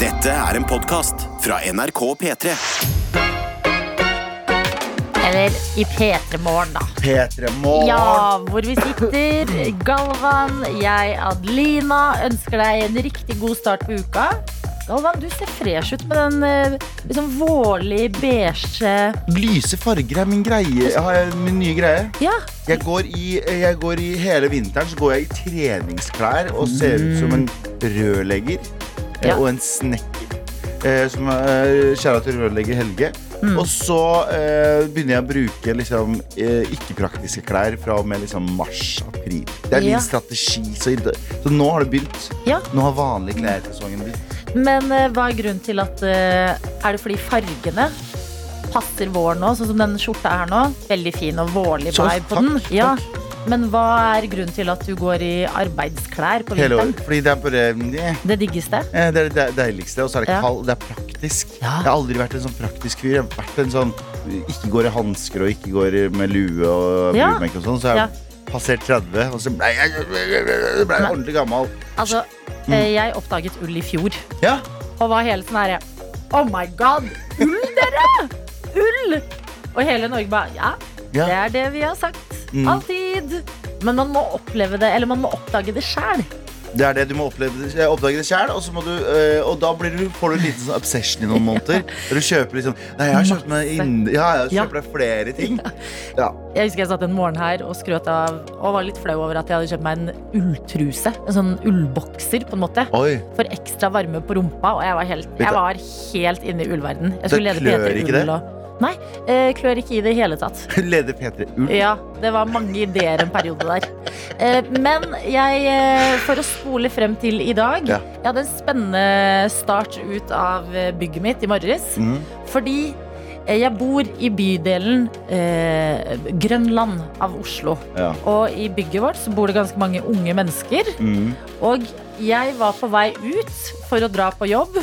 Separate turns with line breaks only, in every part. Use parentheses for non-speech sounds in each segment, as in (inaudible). Dette er en podkast fra NRK P3.
Eller i P3 Morgen, da.
P3 Morgen.
Ja, hvor vi sitter. Galvan, jeg, Adelina, ønsker deg en riktig god start på uka. Galvan, du ser fresh ut med den eh, liksom vårlig beige
Lyse farger er min greie. Jeg har min nye greie.
Ja,
Jeg går, i, jeg går i Hele vinteren så går jeg i treningsklær og ser ut som en rørlegger eh,
Ja.
og en snekker. eh, Som er kjære til rørlegger Helge.
Mm.
Og så eh, begynner jeg å bruke liksom, eh, ikke-praktiske klær fra og med liksom, mars-april. Det er
Ja.
min strategi. Så, i dag- så nå har det begynt.
Ja.
Nå har vanlige
Mm.
klær-sesongen begynt.
Men eh, hva er grunnen til at eh, Er det fordi fargene passer vår nå, sånn som den skjorta er nå? Veldig fin og vårlig
Så,
vibe på
takk,
den. Ja. Men hva er grunnen til at du går i arbeidsklær på
Hele
vinteren?
året. Fordi det er bare eh,
Det diggeste?
Eh, Det er det deiligste, og så er det
Ja.
kaldt. Det er praktisk.
Ja.
Jeg har aldri vært en sånn praktisk fyr. Jeg har vært en sånn ikke går i hansker og ikke går med lue og
Ja.
brudmekk og sånn. Så jeg
Ja.
har passert 30, og så ble jeg, jeg ble ordentlig gammel.
Altså,
Mm.
eh, jeg oppdaget ull i fjor.
Ja.
Og var hele sånn her Oh my god, ull dere! Ull! Og hele Norge bare Ja,
Ja.
det er det vi har sagt.
Mm.
Alltid. Men man må oppleve det, eller man må oppdage det sjæl.
Det er det du må oppleve, eh, oppdage det sjæl, og, så må du, eh, og da blir du, får du en liten sånn obsession i noen måneder. Der du kjøper liksom Nei, jeg har kjøpt meg inn, ja, jeg
Ja.
har kjøpt meg flere ting. Ja.
Jeg husker jeg satt en morgen her og skrøt av og var litt flau over at jeg hadde kjøpt meg en ulltruse. En sånn ullbokser, på en måte.
Oi. (laughs)
For ekstra varme på rumpa. Og jeg var helt, jeg var helt inne i ullverden. Jeg
Så
skulle lede
klør
P3
ikke det?
Ull og Nei, eh, klør ikke i det hele tatt.
Leder P3 Ull.
Ja, det var mange ideer en periode der. Eh, Men jeg, eh, for å spole frem til i dag
Ja.
Jeg hadde en spennende start ut av eh, bygget mitt i morges.
Mm.
Fordi eh, jeg bor i bydelen eh, Grønland av Oslo.
Ja.
Og i bygget vårt så bor det ganske mange unge mennesker.
Mm.
Og jeg var på vei ut for å dra på jobb,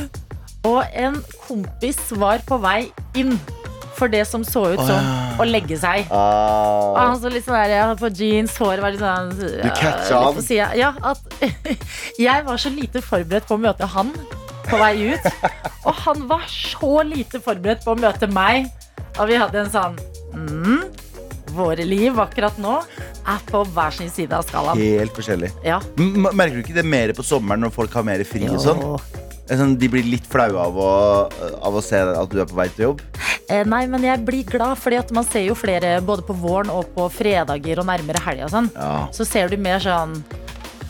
og en kompis var på vei inn for det som så ut
Å,
som
ja.
å legge seg. Og
Ah.
han så litt sånn der, jeg hadde på jeans, håret var litt sånn Du
catcha han.
Ja, at (laughs) jeg var så lite forberedt på å møte han på vei ut. Og han var så lite forberedt på å møte meg. Og vi hadde en sånn mm, Våre liv akkurat nå er på hver sin side av skalaen.
Helt forskjellig.
Ja.
M merker du ikke det mer på sommeren når folk har mer fri? og sånn?
Jo.
Det er sånn De blir litt flaue av, å- av å se at du er på vei til jobb?
Eh, Nei, men jeg blir glad, fordi at man ser jo flere både på våren og på fredager og nærmere helga og sånn.
Ja.
så ser du mer sånn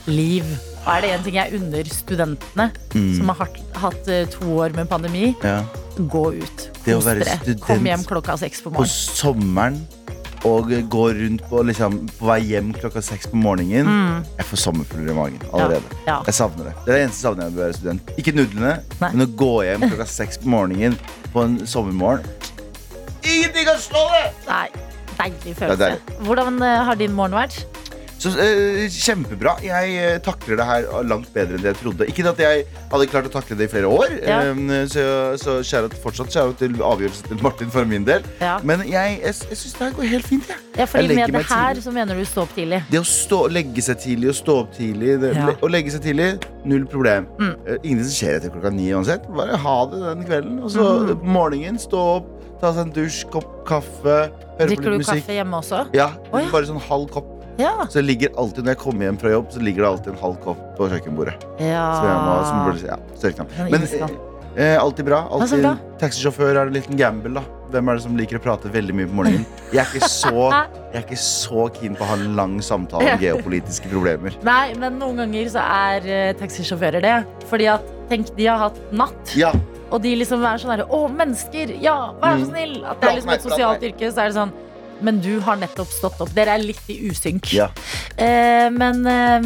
liv. Og er det én ting jeg unner studentene
Mm.
som har hatt, hatt eh, to år med pandemi,
ja.
gå ut.
Det å
Kos
være
dere.
student
Kom hjem klokka seks på
På
morgenen.
sommeren og gå rundt på, liksom, på vei hjem klokka seks på morgenen Jeg får sommerfugler i magen allerede.
Mm. Ja, ja.
Jeg savner det. Det er det eneste savnet jeg bør være student. Ikke nudlene,
Nei.
men å gå hjem klokka seks på morgenen på en sommermorgen. Ingenting kan slå det!
Nei, deilig
Det er
følelse. Hvordan eh, har din morgen vært?
Så eh, Kjempebra. Jeg eh, takler det her langt bedre enn det jeg trodde. Ikke at jeg hadde klart å takle det i flere år,
Ja.
eh, så, så kjære, fortsatt kjære til avgjørelsen til Martin for min del.
Ja.
Men jeg, jeg, jeg syns det her går helt fint. Jeg.
Ja, fordi
jeg legger
med det
meg
her
tidlig.
så mener du stå opp tidlig.
Det å stå, legge seg tidlig og stå opp tidlig det,
Ja.
le, Å legge seg tidlig, null problem.
Mm.
Eh, Ingenting som skjer etter klokka ni uansett. Bare ha det den kvelden. Og så
Mhm.
eh, på morgenen stå opp, ta seg en dusj, kopp kaffe, høre på
Drikker
litt
du
musikk.
kaffe hjemme også?
Ja,
Å, ja.
Bare sånn halv kopp.
Ja.
Så det ligger alltid, Når jeg kommer hjem fra jobb, så ligger det alltid en halv kopp på kjøkkenbordet. Som jeg må, som
ja.
burde, ja, størknapp.
Den
Men
iskald.
eh, eh, alltid bra.
så
Alltid
bra.
en taxisjåfør er det en liten gamble, da. Hvem er det som liker å prate veldig mye
(laughs)
på morgenen? Jeg er ikke så, jeg er ikke så keen på å ha en lang
(laughs)
samtale om geopolitiske problemer.
Nei, men noen ganger så er eh, taxisjåfører det. Fordi at, tenk, de har hatt natt.
Ja,
Og de liksom er sånn her Å, mennesker! Ja, vær så
Mm.
snill! At det
Prat
er liksom
meg,
et
prat
sosialt
meg.
yrke, så er det sånn Men du har nettopp stått opp. Dere er litt i usynk.
ja.
Eh, men eh,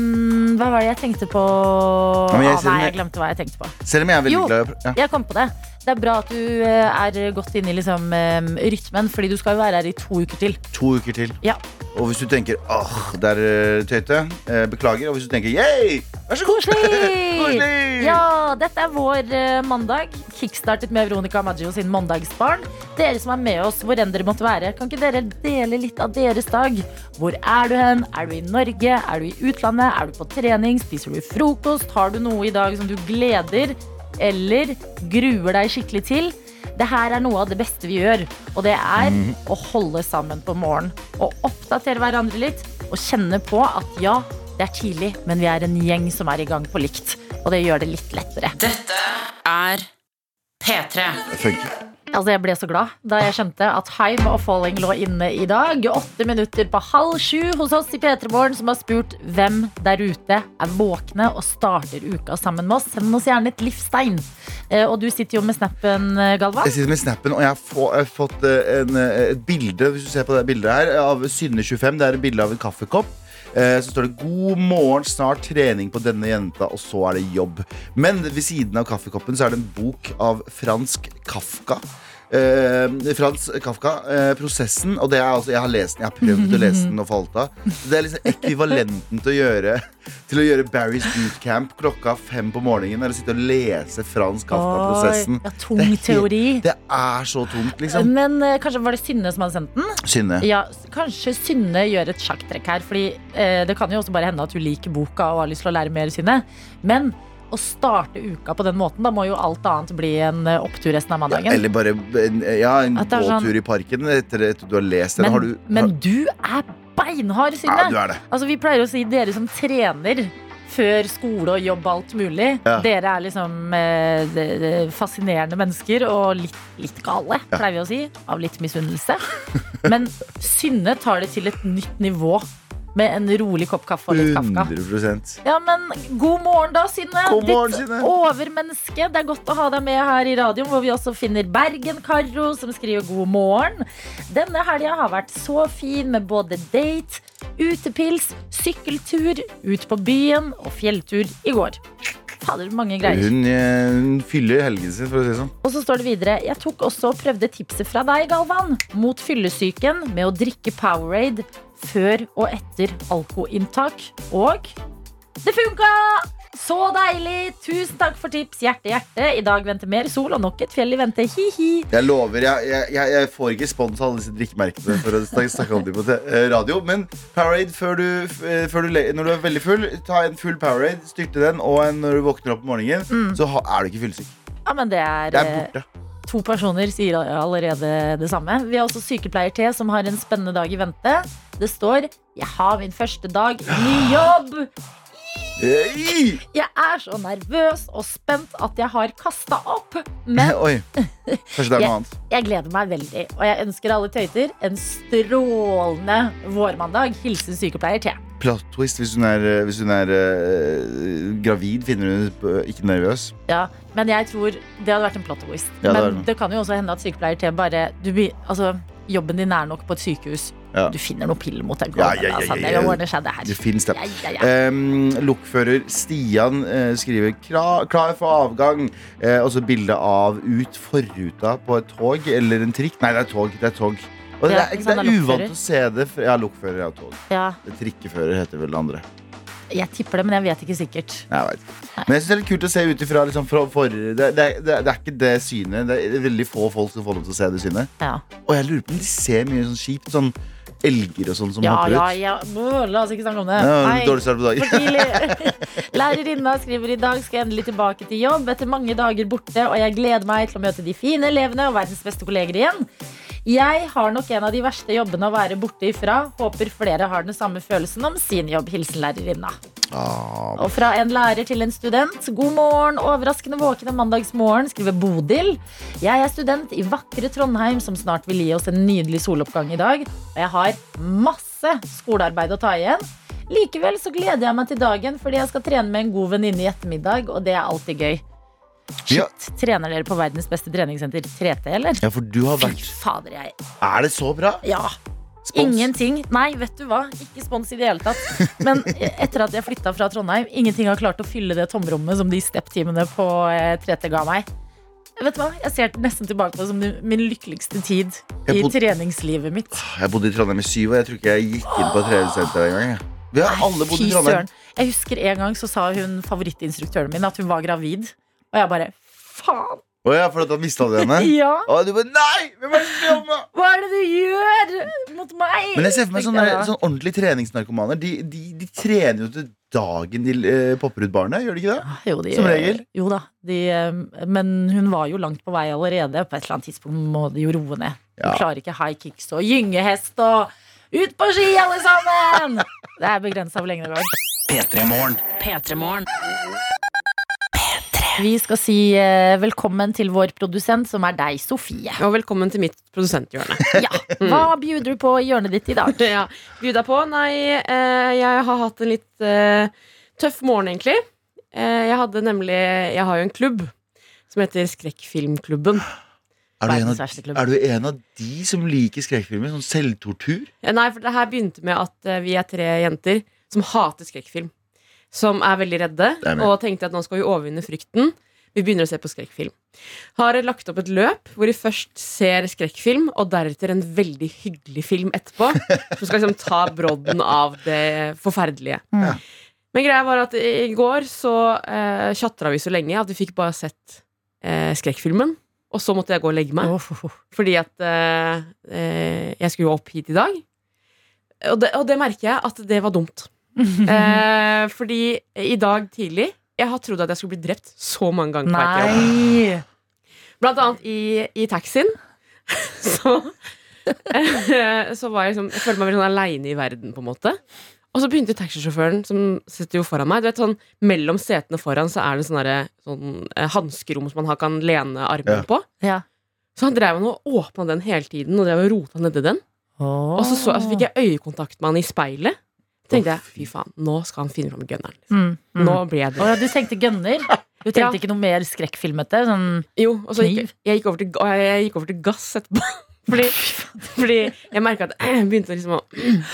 hva var det jeg tenkte på?
Ja, men jeg
ah,
ser
nei,
den
jeg glemte hva jeg tenkte på.
Selv om jeg er veldig
Jo.
glad i å pr- ja.
Jeg kom på det. Det er bra at du eh, er godt inne i liksom, eh, rytmen, fordi du skal jo være her i to uker til.
to uker til.
Ja.
Og hvis du tenker åh, der eh, tøyte, eh, beklager. Og hvis du tenker yay, vær så god.
Koselig!
(laughs) Koselig!
Ja, dette er vår eh, mandag. Kickstartet med Veronica Maggio sin Mandagsbarn. Dere som er med oss, hvor enn dere måtte være, kan ikke dere dele litt av deres dag? Hvor er du hen? Er du i Norge? Er du i utlandet? Er du på trening? Spiser du frokost? Har du noe i dag som du gleder eller gruer deg skikkelig til. Det her er noe av det beste vi gjør, og det er å holde sammen på morgenen. Og oppdatere hverandre litt, og kjenne på at ja, det er tidlig, men vi er en gjeng som er i gang på likt. Og det gjør det litt lettere.
Dette er P3.
Det funker.
Altså Jeg ble så glad da jeg skjønte at Heim og Falling lå inne i dag. Åtte minutter på halv sju hos oss i P3 Morgen, som har spurt hvem der ute er våkne og starter uka sammen med oss. Send oss gjerne et livstegn. Eh, Og du sitter jo med snappen, eh, Galvan.
Jeg sitter med snappen, og jeg har, få, jeg har fått eh, en, eh, et bilde Hvis du ser på det bildet her av Synne25. Det er et bilde av en kaffekopp. Eh, Så står det 'God morgen, snart trening på denne jenta', og så er det jobb. Men ved siden av kaffekoppen så er det en bok av fransk Kafka. Eh, Frans Kafka, eh, 'Prosessen'. Og det er altså, jeg har lest den, jeg har prøvd å lese den og falt av. Så det er liksom ekvivalenten til å gjøre Til å gjøre Barry's bootcamp klokka fem på morgenen. Eller sitte og lese fransk Kafka-prosessen.
Oi, ja,
Det er
tung
helt-
teori.
Det er så tungt, liksom.
Men eh, kanskje var det Synne som hadde sendt den?
Synne.
Ja, s- Kanskje Synne gjør et sjakktrekk her. Fordi eh, Det kan jo også bare hende at hun liker boka og har lyst til å lære mer, Synne. Men å starte uka på den måten, da må jo alt annet bli en eh, opptur resten av mandagen.
Eller bare en, ja, en
At det er sånn-
gåtur i parken etter at du har lest den.
Men,
Har du,
men du er beinhard, Synne.
Ja, du er det.
Altså, vi pleier å si dere som trener før skole og jobb og alt mulig.
Ja.
Dere er liksom eh, de- de- fascinerende mennesker og litt, litt gale, pleier vi å si. Av litt misunnelse. Men Synne tar det til et nytt nivå med en rolig kopp kaffe og litt Kafka.
100
Ja, men god morgen da, Synne.
God morgen,
Ditt
Synne.
overmenneske. Det er godt å ha deg med her i radioen, hvor vi også finner Bergen-Karo, som skriver god morgen. Denne helga har vært så fin med både date, utepils, sykkeltur, ut på byen og fjelltur i går. Fader, mange greier.
Hun, eh, hun fyller helgen sin, for å si det sånn.
Og så står det videre Jeg tok også og prøvde tipset fra deg, Galvan, mot fyllesyken med å drikke Powerade før og etter alkoholinntak. Og det funka! Så deilig! Tusen takk for tips. Hjerte, hjerte. I dag venter mer sol og nok et fjell i vente. Hi-hi.
Jeg lover, jeg, jeg, jeg, jeg får ikke spons av alle disse drikkemerkene for å snakke, snakke om dem på te- eh, radio. Men Powerade før du, f- eh, før du, le- når du er veldig full, ta en full Powerade, styrte den, og en når du våkner opp om morgenen, så ha, er du ikke fyllesyk.
Ja, men det er,
Det er
Mm. eh,
borte.
To personer sier allerede det samme. Vi har også sykepleier T, som har en spennende dag i vente. Det står 'Jeg har min første dag. Ny jobb'.
Hey!
Jeg er så nervøs og spent at jeg har kasta opp.
(laughs)
Men
Oi. Kanskje det er noe
jeg,
annet.
jeg gleder meg veldig, og jeg ønsker alle tøyter en strålende vårmandag. Hilsen sykepleier T.
Plot twist hvis hun er, eh, hvis hun er eh, gravid, finner hun ut på- ikke nervøs.
Ja, men jeg tror det hadde vært en plot twist.
Ja, det hadde
men
det.
det kan jo også hende at sykepleier T bare du, blir- altså, Jobben din er nok på et sykehus.
Ja.
Du finner noe pille mot det.
Ja, ja, ja,
altså.
ja,
Det
ja. Eh.
ordner seg, det her.
Det finnes det.
Ja, ja, ja.
Em, lokfører Stian eh, skriver "Kra- 'klar for avgang'. Eh, og så bilde av ut forruta på et tog eller en trikk. Nei, det er tog. Det er tog. Og det,
Ja,
er,
hvis
det
han
er
er lokfører.
uvant å se det. fra- Ja, lokfører er tog.
Ja,
Trikkefører heter vel det andre.
jeg tipper det, men jeg vet ikke sikkert.
Jeg vet. ikke. Men jeg synes det er litt kult å se ut ifra liksom, fra for, det, det, det, det er ikke det synet. Det er veldig få folk som får lov til å se det synet.
Ja,
Og jeg lurer på om de ser mye sånn kjipt. Sånn elger og sånn som
ja,
hopper
ja,
ut.
ja. Bå, La oss ikke snakke om det.
Ja,
Nei.
dårlig start på dagen.
For tidlig. (laughs) Lærerinna skriver i dag skal jeg endelig tilbake til jobb etter mange dager borte, og jeg gleder meg til å møte de fine elevene og verdens beste kolleger igjen. Jeg har nok en av de verste jobbene å være borte ifra. Håper flere har den samme følelsen om sin jobb. Hilsen lærerinna.
Ah,
Og fra en lærer til en student. God morgen, overraskende våken en mandagsmorgen, skriver Bodil. Jeg er student i vakre Trondheim, som snart vil gi oss en nydelig soloppgang i dag. Og jeg har masse skolearbeid å ta igjen. Likevel så gleder jeg meg til dagen, fordi jeg skal trene med en god venninne i ettermiddag, og det er alltid gøy. Shit,
Ja.
trener dere på verdens beste treningssenter, 3T, eller?
ja, for du har
Fy
vært
fader, jeg
Er det så bra?
Ja.
Spons.
Ingenting. Nei, vet du hva. Ikke spons i det hele tatt. Men etter at jeg flytta fra Trondheim, ingenting har klart å fylle det tomrommet som de step-timene på eh, 3T ga meg. Vet du hva? Jeg ser nesten tilbake på det som min lykkeligste tid
Jeg
i
bod-
treningslivet mitt.
Jeg bodde i Trondheim i syv år. Jeg tror ikke jeg gikk inn på et treningssenter engang. jeg. Vi har alle bodd i
Fy
Trondheim.
søren. Jeg husker en gang så sa hun favorittinstruktøren min at hun var gravid. Og jeg bare faen!
Å ja, for at han mista du henne?
(laughs) Ja!
Å, du bare Nei! Hvem er det som
(laughs)
jobber med?"
Hva er det du gjør mot meg?
Men jeg ser for meg
Tenkte
sånne,
jeg da.
sånn ordentlige treningsnarkomaner. De, de, de trener jo til dagen til eh, Popperud-barnet, gjør de ikke det?
Ah, Jo, de,
Som regel.
Jo da. De, eh, men hun var jo langt på vei allerede. På et eller annet tidspunkt må de jo roe ned. Hun
Ja.
klarer ikke high kicks og gyngehest og ut på ski, alle
(laughs)
sammen! Det er begrensa hvor lenge det går.
P3-morgen.
P3-morgen.
Vi skal si eh, velkommen til vår produsent, som er deg, Sofie.
Og velkommen til mitt produsenthjørne.
(laughs)
(laughs)
Ja. Hva bjuder du på i hjørnet ditt i dag?
ja. Bjuda på? Nei, eh, jeg har hatt en litt eh, tøff morgen, egentlig. Eh, jeg hadde nemlig Jeg har jo en klubb som heter Skrekkfilmklubben.
Er du, en
Verdens verste
av,
klubb.
er du en av de som liker skrekkfilmer? Sånn selvtortur?
Eh, Nei, for det her begynte med at eh, vi er tre jenter som hater skrekkfilm. Som er veldig redde,
Det er meg.
og tenkte at nå skal vi overvinne frykten. Vi begynner å se på skrekkfilm. Har lagt opp et løp hvor vi først ser skrekkfilm, og deretter en veldig hyggelig film etterpå. Som skal liksom ta brodden av det forferdelige.
Ja.
Men greia var at i går så eh, tjatra vi så lenge at vi fikk bare sett eh, skrekkfilmen. Og så måtte jeg gå og legge meg.
Åh, ho, ho.
Fordi at eh, eh, jeg skulle jo opp hit i dag. Og det, og det merker jeg at det var
(laughs)
dumt. Eh, fordi i dag tidlig Jeg har trodd at jeg skulle bli drept så mange ganger. på vei til jobb.
Nei!
Blant annet i, i taxien. (laughs) Så, eh, så var jeg liksom Jeg følte meg veldig sånn aleine i verden, på en måte. Og så begynte taxisjåføren, som sitter jo foran meg Du vet sånn, Mellom setene foran så er det sånn derre- sånn, eh, hanskerom som man har- kan lene armen
Ja.
på.
Ja.
Så han drev han og åpna den hele tiden og drev og rota nedi den. Og så, så, altså, fikk jeg øyekontakt med han i speilet. tenkte jeg fy faen, nå skal han finne fram gunneren.
Mm, mm.
Nå blir
Å
jeg det.
ja, du tenkte gønner? Du tenkte
Ja.
ikke noe mer skrekkfilmete? Sånn
Jo, og så gikk
Kniv?
jeg gikk over til, og jeg gikk over til gass etterpå. Fordi, fordi jeg merka at jeg begynte liksom å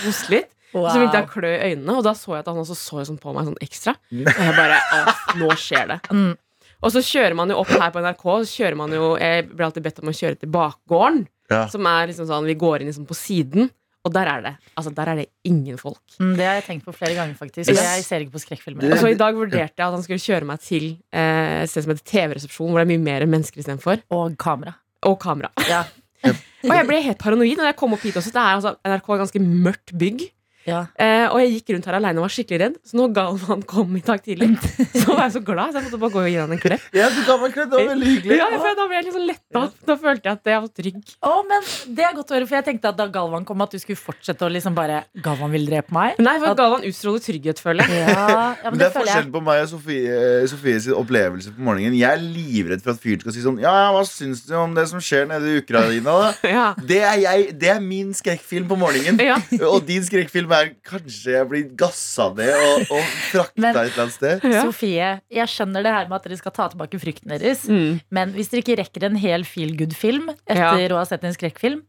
hoste litt.
wow.
Så begynte jeg å klø i øynene, og da så jeg at han også så sånn på meg sånn ekstra. Og jeg bare «Å, Nå skjer det.
Mm.
Og så kjører man jo opp her på NRK. Så kjører man jo, Jeg blir alltid bedt om å kjøre til bakgården.
Ja.
Som er liksom sånn, Vi går inn liksom på siden, og der er det altså der er det ingen folk.
Mm, Det har jeg tenkt på flere ganger, faktisk.
Yes.
Og jeg ser ikke på skrekkfilmer.
Og så I dag vurderte jeg at han skulle kjøre meg til eh, et sted som heter TV-resepsjonen, hvor det er mye mer mennesker istedenfor.
Og kamera.
Og kamera.
Ja.
og jeg ble helt paranoid når jeg kom opp hit også. Det er altså NRK er ganske mørkt bygg.
Ja.
Eh, og jeg gikk rundt her alene og var skikkelig redd. Så når Galvan kom i dag (laughs) tidlig, så var jeg så glad. Så jeg måtte bare gå og gi han en klem.
Ja, du kan være kledd, det var veldig hyggelig.
Ja, for da ble jeg liksom letta. Da følte jeg at jeg var trygg.
Å, men det er godt å høre, for jeg tenkte at da Galvan kom, at du skulle fortsette å liksom bare Galvan vil drepe meg?
Nei, for Galvan utstråler trygghet, føler jeg.
Ja, ja men
Men det
det
er
føler jeg.
forskjell på meg og Sofie, eh, Sofies opplevelse på morgenen. Jeg er livredd for at fyren skal si sånn Ja, ja, hva syns du om det som skjer nede i Ukraina, da?
(laughs) Ja.
Det er, jeg, det er min skrekkfilm på morgenen.
(laughs)
Ja.
Og din skrekkfilm er kanskje jeg blir gassa ned og, og frakta
Men-
et eller annet sted.
Ja.
Sofie, jeg skjønner det her med at dere skal ta tilbake frykten deres.
Mm.
Men hvis dere ikke rekker en hel feel good-film etter å ha sett en skrekkfilm,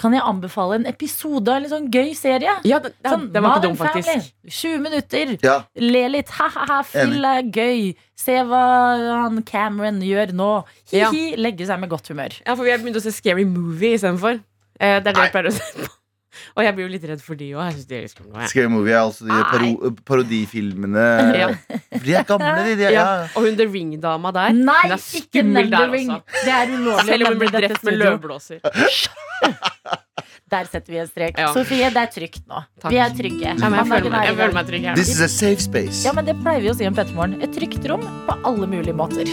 kan jeg anbefale en episode av en litt sånn gøy serie.
ja, den, den,
Sånn,
den var ikke
Modern
dum, faktisk.
Family. 20 minutter.
Ja,
Le litt. Ha-ha-ha, fyll er gøy. Se hva han Cameron gjør nå.
Ja.
Hi-hi. Legge seg med godt humør.
Ja, for vi har begynt å se Scary Movie istedenfor. Eh, det er det jeg pleier å se på. Og jeg blir jo litt redd for de òg. Jeg synes de er litt skumle, jeg.
Scary Movie er altså de paro parodifilmene.
Ja.
De er gamle, de. de er,
Ja.
ja.
Og hun The Ring-dama der.
Nei,
hun er
ikke
skummel der,
Nevering.
altså.
Det er ulovlig. å
Selv om hun
nevne i
blir
dette
drept med
studio.
løvblåser.
Der setter vi en strek.
Ja.
Sofie, det er trygt nå.
Takk.
Vi er trygge.
Ja, men jeg,
Mandagen
føler meg,
er i
jeg føler
gang.
meg trygg her.
This is a safe space.
Ja, men Det pleier vi å si om Pettermorgen. Et trygt rom på alle mulige måter.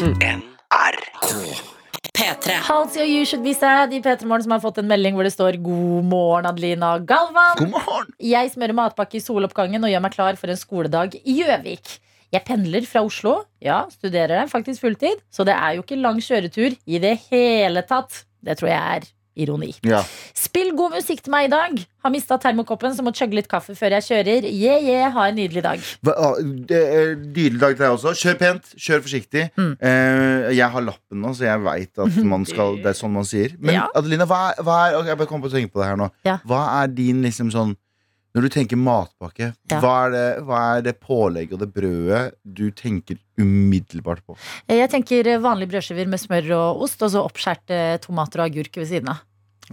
P3.
Halsey og You Should Be Sad i Pettermorgen som har fått en melding hvor det står 'God morgen, Adelina og Galvan'.
God morgen!
Jeg smører matpakke i soloppgangen og gjør meg klar for en skoledag i Gjøvik. Jeg pendler fra Oslo, ja, studerer der faktisk fulltid, så det er jo ikke lang kjøretur i det hele tatt. Det tror jeg er ironi.
Ja.
Spill god musikk til meg i dag. Har mista termokoppen, så må chugge litt kaffe før jeg kjører. Yeah, yeah, ha en nydelig dag.
Hva- ah, det er Nydelig dag til deg også. Kjør pent, kjør forsiktig.
Mm.
Eh, jeg har lappen nå, så jeg veit
(laughs)
at man skal, det er sånn man sier. Men
Ja.
Adelina, hva er, hva er ok, Jeg bare kom på å tenke på det her nå.
Ja.
Hva er din liksom sånn Når du tenker matpakke,
Ja.
hva, er det, hva er det pålegget og det brødet du tenker umiddelbart på?
Eh, Jeg tenker vanlig brødskiver med smør og ost, og så oppskjærte tomater og agurk ved siden av.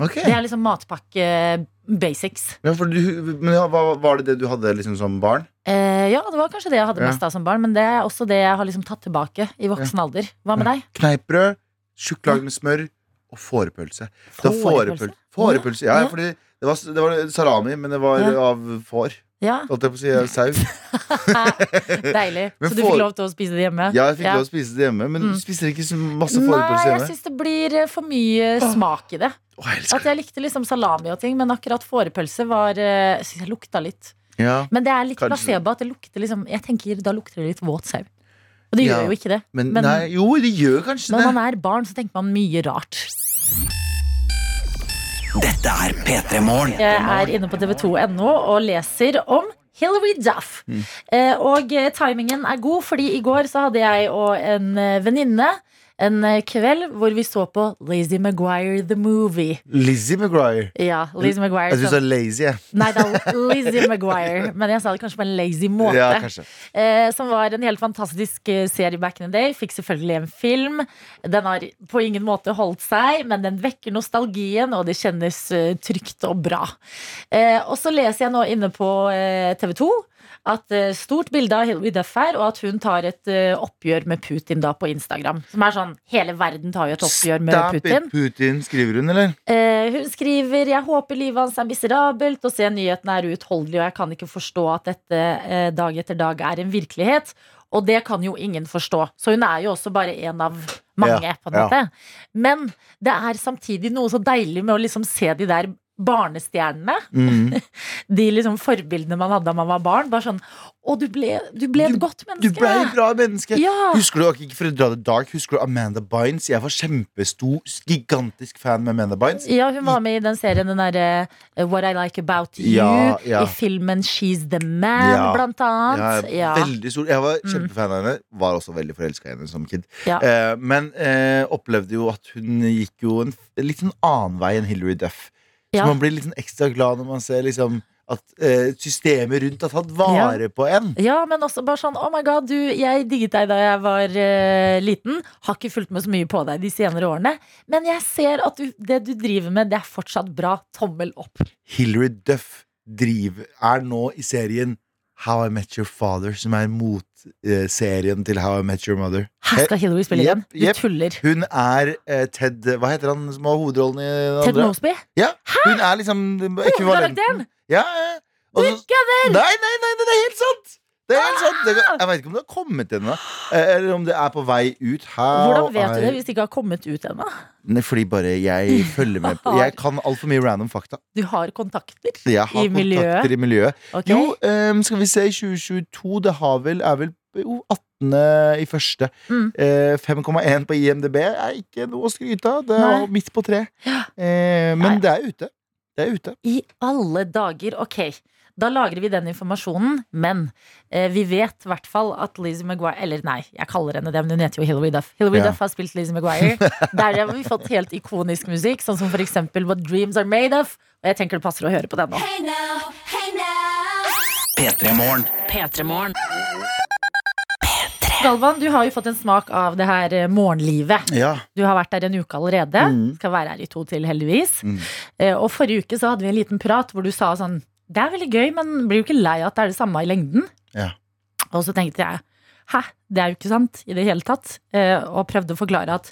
Ok
Det er liksom matpakke basics.
ja, for du, men ja, hva, Var det det du hadde liksom som barn?
Eh, ja, det var kanskje det jeg hadde
Ja.
mest av som barn, men det er også det jeg har liksom tatt tilbake i voksen alder. Hva med deg?
Kneippbrød, tjukk lag med smør og fårepølse. Det var fårepølse. fårepølse. Ja,
Ja.
fordi det var, det var salami, men det var
Ja.
av får. (laughs)
Ja,
Holdt jeg på å
(laughs)
si. Jeg er sau.
Deilig.
Men
Så du
får-
fikk lov til å spise det hjemme?
Ja, jeg fikk
Ja.
lov å spise det hjemme, men
Mm.
spiser ikke så masse
Nei,
fårepølse
jeg
hjemme.
syns det blir eh, for mye smak i det.
Å, jeg
At
elsker det.
jeg likte liksom salami og ting, men akkurat fårepølse var eh, synes jeg lukta litt.
Ja.
Men det er litt
Kanskje.
placebo. At det lukter liksom, jeg tenker, Da lukter det litt våt sau. Og det
Ja.
gjør jo ikke det.
Men,
Men-
nei, jo, det gjør kanskje
Når
det.
man er barn, så tenker man mye rart.
Dette er P3 Morgen.
Jeg er inne på tv2.no og leser om Hilary Duff.
Mm.
Eh, og eh, timingen er god, fordi i går så hadde jeg og en eh, venninne en eh, kveld hvor vi så på Lazy Maguire The Movie.
Lizzie McGuire.
Ja, Lizzie Maguire
Jeg syns du
som-
er lazy, jeg.
Nei, det er Lizzie
(laughs)
Maguire, men jeg sa det kanskje på en lazy måte.
Ja, kanskje.
eh, som var en helt fantastisk eh, serie back in the day. Fikk selvfølgelig en film. Den har på ingen måte holdt seg, men den vekker nostalgien, og det kjennes eh, trygt og bra. Eh, og så leser jeg nå inne på eh, TV 2 at eh, stort bilde av Hilary Duff her, og at hun tar et eh, oppgjør med Putin da på Instagram. Som er sånn hele verden tar jo et oppgjør med
Stop
Putin.
it, Putin, skriver hun, eller?
Eh, hun skriver Jeg håper livet hans er miserabelt og ser nyhetene er uutholdelig, og jeg kan ikke forstå at dette eh, dag etter dag er en virkelighet. Og det kan jo ingen forstå. Så hun er jo også bare en av mange,
Ja,
på en
ja.
måte. Men det er samtidig noe så deilig med å liksom se de der barnestjernene. (laughs)
Mm.
De liksom forbildene man hadde da man var barn. Bare sånn Å, du ble, du ble et godt
Du
menneske!
ble et bra menneske.
Ja.
Husker du ok, ikke for å dra det dark, husker du Amanda Bynes? Jeg var kjempestor, gigantisk fan med Amanda Bynes.
Ja, hun var med i den serien den derre eh, What I Like About You.
Ja, ja.
I filmen She's The Man,
Ja.
blant annet.
Jeg,
Ja. Mm.
er veldig stor. jeg var kjempefan av henne. Var også veldig forelska i henne som kid.
Ja.
Eh, men eh, opplevde jo at hun gikk jo en f- litt sånn annen vei enn Hilary Duff.
Ja.
Så man blir litt sånn ekstra glad når man ser liksom at eh, systemet rundt har tatt vare på en.
ja, men også bare sånn Oh my god, du, jeg digget deg da jeg var eh, liten. Har ikke fulgt med så mye på deg de senere årene. Men jeg ser at du, det du driver med, det er fortsatt bra. Tommel opp.
Hilary Duff driv, er nå i serien How I Met Your Father, som er motserien til How I Met Your Mother.
Her skal Hillary spille
Jep,
igjen. Du
jep.
tuller.
Hun er eh, Ted Hva heter han som har hovedrollen i den
Ted
andre?
Mosby?
Ja, hun er liksom ekvivalenten.
Hovedkarakteren!
Ja, ja. Og så- Nei, nei, nei, det er helt sant! Det er helt sant. Det,
Ah!
jeg vet ikke om det har kommet ennå, eh, eller om det er på vei ut. How
Hvordan vet du
I-
det hvis det ikke har kommet ut ennå?
Nei, Fordi bare jeg følger med på Jeg kan altfor mye random fakta.
Du har kontakter
Jeg har
i miljøet.
kontakter i miljøet.
ok?
Jo, ehm, skal vi se, i 2022 Det har vel, er vel jo, 18. i første
Mm.
Eh, 5,1 på IMDb er ikke noe å skryte av Det
Nei.
er midt på tre Eh, Men
Nei.
det er ute Det er ute
I alle dager, ok. Da lagrer vi den informasjonen, men eh, vi vet i hvert fall at Lizzie Maguire Eller nei, jeg kaller henne det, men hun heter jo Hilary Duff. Hilary
Ja.
Duff har spilt Lizzie
(laughs)
Maguire. Der har vi fått helt ikonisk musikk, sånn som for eksempel What Dreams Are Made Of. Og jeg tenker det passer å høre på den nå.
P3 Morgen.
P3-morgen.
Galvan, du har jo fått en smak av det her eh, morgenlivet.
Ja,
Du har vært der en uke allerede.
Mm.
Skal være her i to til, heldigvis.
Mm.
Eh, og forrige uke så hadde vi en liten prat hvor du sa sånn Det er veldig gøy, men blir jo ikke lei av at det er det samme i lengden.
Ja.
Og så tenkte jeg hæ, det er jo ikke sant i det hele tatt. Eh, og prøvde å forklare at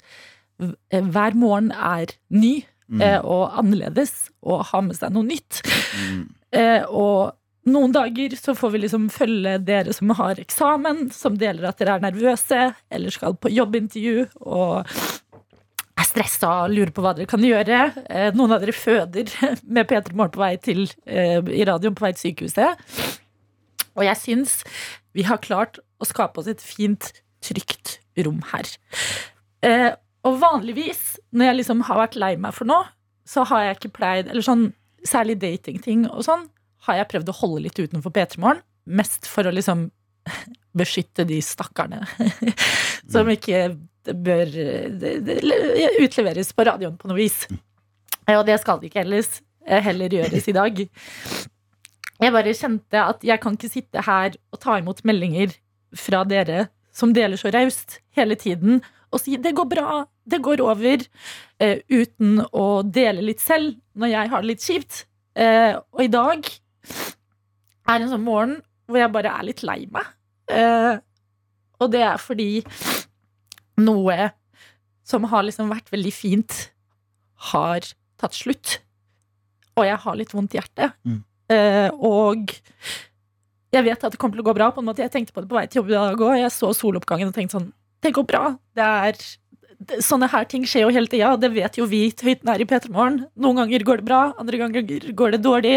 v- eh, hver morgen er ny eh, og annerledes og har med seg noe nytt. Eh, og noen dager så får vi liksom følge dere som har eksamen, som deler at dere er nervøse, eller skal på jobbintervju og er stressa og lurer på hva dere kan gjøre. Eh, noen av dere føder (laughs) med P3 Morgen på vei til eh, i radioen på vei til sykehuset. Og jeg syns vi har klart å skape oss et fint, trygt rom her. Eh, og vanligvis, når jeg liksom har vært lei meg for noe, så har jeg ikke pleid Eller sånn, særlig datingting og sånn, har jeg prøvd å holde litt utenfor P3 Morgen. Mest for å liksom (laughs) beskytte de stakkarene (laughs) som ikke bør eh, utleveres på radioen på noe vis. Eh, Og det skal det ikke ellers, eh, heller gjøres i dag. Jeg bare kjente at jeg kan ikke sitte her og ta imot meldinger fra dere som deler så raust hele tiden, og si 'det går bra, det går over', eh, uten å dele litt selv når jeg har det litt kjipt. Eh, og i dag er en sånn morgen hvor jeg bare er litt lei meg. Eh, og det er fordi noe som har liksom vært veldig fint, har tatt slutt. Og jeg har litt vondt i hjertet.
Mm.
Eh, og Jeg vet at det kommer til å gå bra. på en måte Jeg tenkte på det på vei til jobb i dag òg. Jeg så soloppgangen og tenkte sånn Det går bra. Det er det, Sånne her ting skjer jo hele tida, og det vet jo vi høyten her i P3 Morgen. Noen ganger går det bra, andre ganger går det dårlig.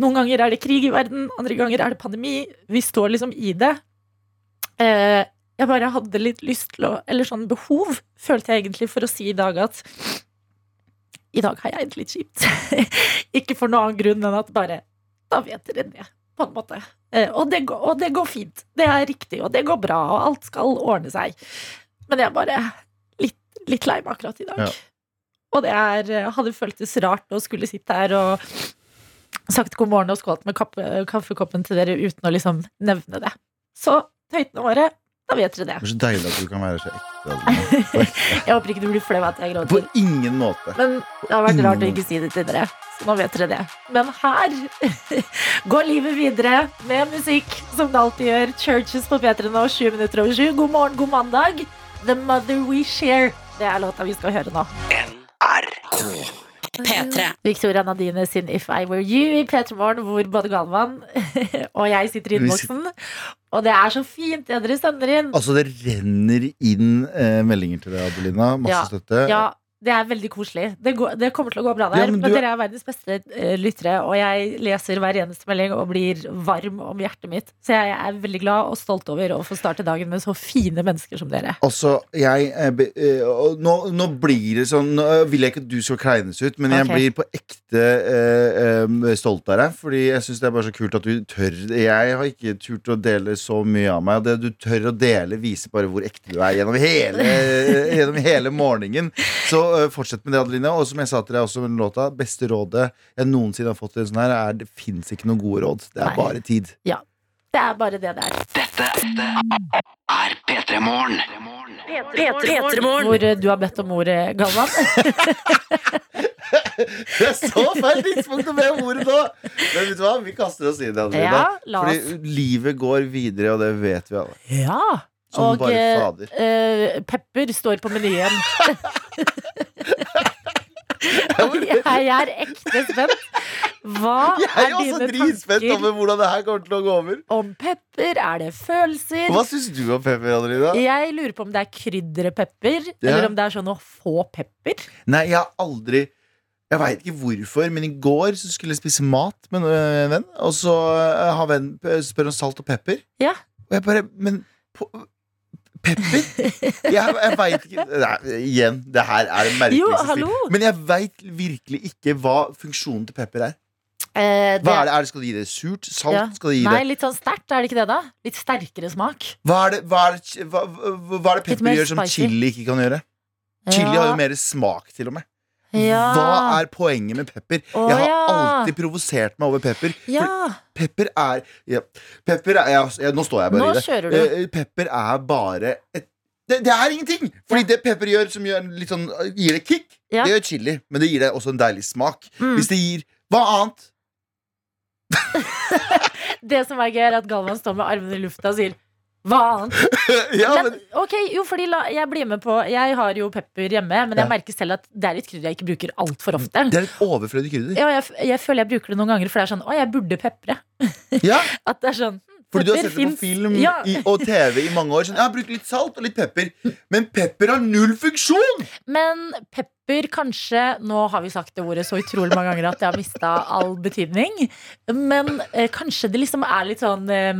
Noen ganger er det krig i verden, andre ganger er det pandemi. Vi står liksom i det. Eh, jeg bare hadde litt lyst til å Eller sånn behov, følte jeg egentlig, for å si i dag at I dag har jeg det litt kjipt. (laughs) Ikke for noen annen grunn enn at bare Da vet dere det, på en måte. Eh, og, det går, og det går fint. Det er riktig, og det går bra, og alt skal ordne seg. Men jeg er bare litt, litt lei meg akkurat i dag.
Ja.
Og det er, hadde føltes rart å skulle sitte her og sagt god morgen og skålt med kapp, kaffekoppen til dere uten å liksom nevne det. Så høytene våre, da vet dere
Det
det.
er så deilig at du kan være så ekte. Adelina.
(laughs) Jeg håper ikke du blir flau av at jeg
På
gråter.
ingen måte.
Men det har vært rart å ikke si det til dere. Så nå vet dere det. Men her (laughs) går livet videre med musikk, som det alltid gjør. Churches på P3 nå, 20 minutter over 7. God morgen, god mandag. The Mother We Share. Det er låta vi skal høre nå.
P3.
Victoria Nadine sin If I Were You i P3 Morgen, hvor både Galvan (laughs) og jeg sitter i
Vi
innboksen. Og det er så fint, det dere sender inn.
Altså, det renner inn eh, meldinger til deg, Adelina. Masse
Ja.
støtte.
Ja, det er veldig koselig. Det, går, det kommer til å gå bra der.
Ja,
Eh.
men
men
du-
dere er verdens beste eh, lyttere, og jeg leser hver eneste melding og blir varm om hjertet mitt. Så jeg er veldig glad og stolt over å få starte dagen med så fine mennesker som dere.
Altså, jeg eh, be- eh, og nå, nå blir det sånn Nå eh, vil jeg ikke at du skal kleines ut, men jeg
Ok.
blir på ekte eh, eh, stolt av deg. Fordi jeg syns det er bare så kult at du tør Jeg har ikke turt å dele så mye av meg. Og det du tør å dele, viser bare hvor ekte du er gjennom hele, eh, gjennom hele morgenen. Så eh, fortsett med det, Adeline. Og som jeg sa til deg også med den låta, beste rådet jeg noensinne har fått til en sånn her, er det fins ikke noen gode råd. Det
Nei.
er bare tid.
Det er bare det det er.
Er P3 Morgen.
P3morgen.
Hvor eh, du har bedt om ordet, Galvan.
Det er så feil tidspunkt å be om ordet nå! Men vet du hva, vi kaster oss i det. Adelina.
Ja, la oss.
Fordi livet går videre, og det vet vi alle.
Ja.
Som
og
bare
eh,
fader.
eh, pepper står på menyen. Jeg er ekte spent. Hva
Jeg er
er
jo også
dine
dritspent
tanker
over hvordan det her kommer til å gå over.
om pepper? Er det følelser?
Hva syns du om pepper, Adelina?
Jeg lurer på om det er krydderpepper,
Ja.
eller om det er sånn å få pepper.
Nei, jeg har aldri jeg veit ikke hvorfor, men i går så skulle jeg spise mat med en øh, venn. Og så øh, har vennen p- spør om salt og pepper.
Ja.
Og jeg bare Men på, pepper? jeg jeg veit ikke Nei, Igjen, det her er det
Jo,
merkeligste
hallo.
stil. Men jeg veit virkelig ikke hva funksjonen til pepper er.
Eh, det-
Hva er det? Er det skal det gi det surt? Salt?
Ja.
Skal det gi
Nei,
det
litt sånn sterkt, er det ikke det, da? Litt sterkere smak.
Hva er det, hva er det, hva, hva er det
Litt
pepper
mer
gjør som
spicy.
chili ikke kan gjøre? Chili har jo mer smak, til og med.
Ja.
Hva er poenget med pepper?
Å,
jeg har
ja.
alltid provosert meg over pepper.
ja.
For pepper er, ja, pepper er ja, ja, Nå står jeg bare
Nå
i det.
kjører du.
Eh, pepper er bare et det, det er ingenting! Fordi det pepper gjør som gjør litt sånn, gir det kick,
Ja.
det gjør chili. Men det gir deg også en deilig smak.
Mm.
Hvis det gir Hva annet? (laughs)
Det som er gøy, er at Galvan står med armene i lufta og sier hva annet?
ja,
Men,
men,
ok, jo, fordi la, Jeg blir med på Jeg har jo pepper hjemme, men jeg
Ja. Mm,
merker selv at det er litt krydder jeg ikke bruker altfor ofte.
det er et overflødig krydder.
Ja, jeg, f- jeg føler jeg bruker det noen ganger, for det er sånn Å, jeg burde pepre.
Ja,
At det er sånn hm,
fordi du har
pepper
sett det på
finnes.
film
Ja.
i, og TV i mange år. Sånn, ja, Bruk litt salt og litt pepper. Men pepper har null funksjon!
Men pepper kanskje Nå har vi sagt det ordet så utrolig mange ganger at det har mista all betydning. Men eh, kanskje det liksom er litt sånn eh,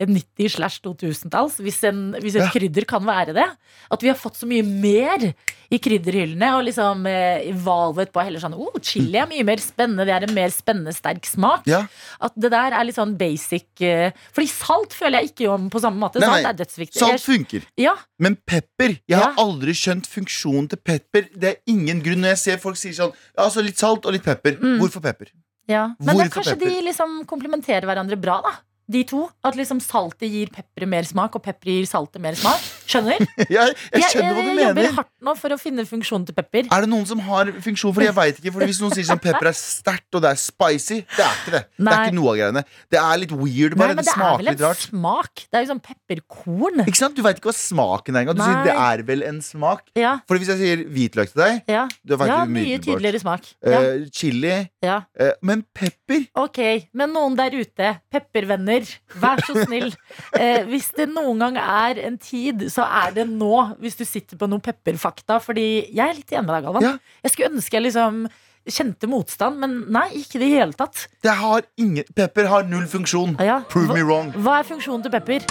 90 slash 2000-talls, hvis, en- hvis et
Ja.
krydder kan være det. At vi har fått så mye mer i krydderhyllene. Og liksom eh, valvet på heller sånn oh, chili er mye mer spennende, det er en mer spennende sterk smak.
Ja.
At det der er litt sånn basic eh, Fordi salt føler jeg ikke om på samme måte.
Nei,
salt
nei.
er dødsviktig.
Salt
Jeg-
funker.
Ja,
Men pepper Jeg har
Ja.
aldri skjønt funksjonen til pepper. Det er ingen grunn når jeg ser folk sier sånn ja, altså Litt salt og litt pepper.
Mm.
Hvorfor pepper? (laughs)
Ja, men da,
Hvorfor
kanskje
pepper?
de liksom komplementerer hverandre bra, da. De to. At liksom saltet gir pepperet mer smak, og pepperet gir saltet mer smak. Skjønner?
Jeg, (laughs) jeg, skjønner hva
jeg,
du
jeg jobber
mener.
hardt nå for å finne funksjonen til pepper.
Er det noen som har funksjon for det? Jeg vet ikke, for Hvis noen sier sånn pepper er sterkt og det er spicy, det er ikke det. Det er
Nei.
ikke noe av greiene. Det er litt weird,
Nei,
bare.
men
det
det er
smaker
vel
litt
en
rart.
smak? Det er jo sånn pepperkorn.
Ikke sant? Du veit ikke hva smaken er engang. Du sier
Nei.
det er vel en smak.
Ja,
For hvis jeg sier hvitløk til deg,
ja.
du vet
ja
ikke
mye
umiddelbart.
tydeligere smak. Ja,
Eh, chili
ja.
eh, Men pepper?
Ok, men noen der ute, peppervenner, lytter, vær så
(laughs)
snill. Eh, hvis det noen gang er en tid, så er det nå. Hvis du sitter på noen pepperfakta. Fordi jeg er litt enig med deg, Galvan.
Ja.
Jeg skulle ønske jeg liksom kjente motstand, men nei, ikke i det hele tatt.
Det har ingen, pepper har null funksjon.
Ja, ja.
Prove me wrong.
Hva er funksjonen til pepper?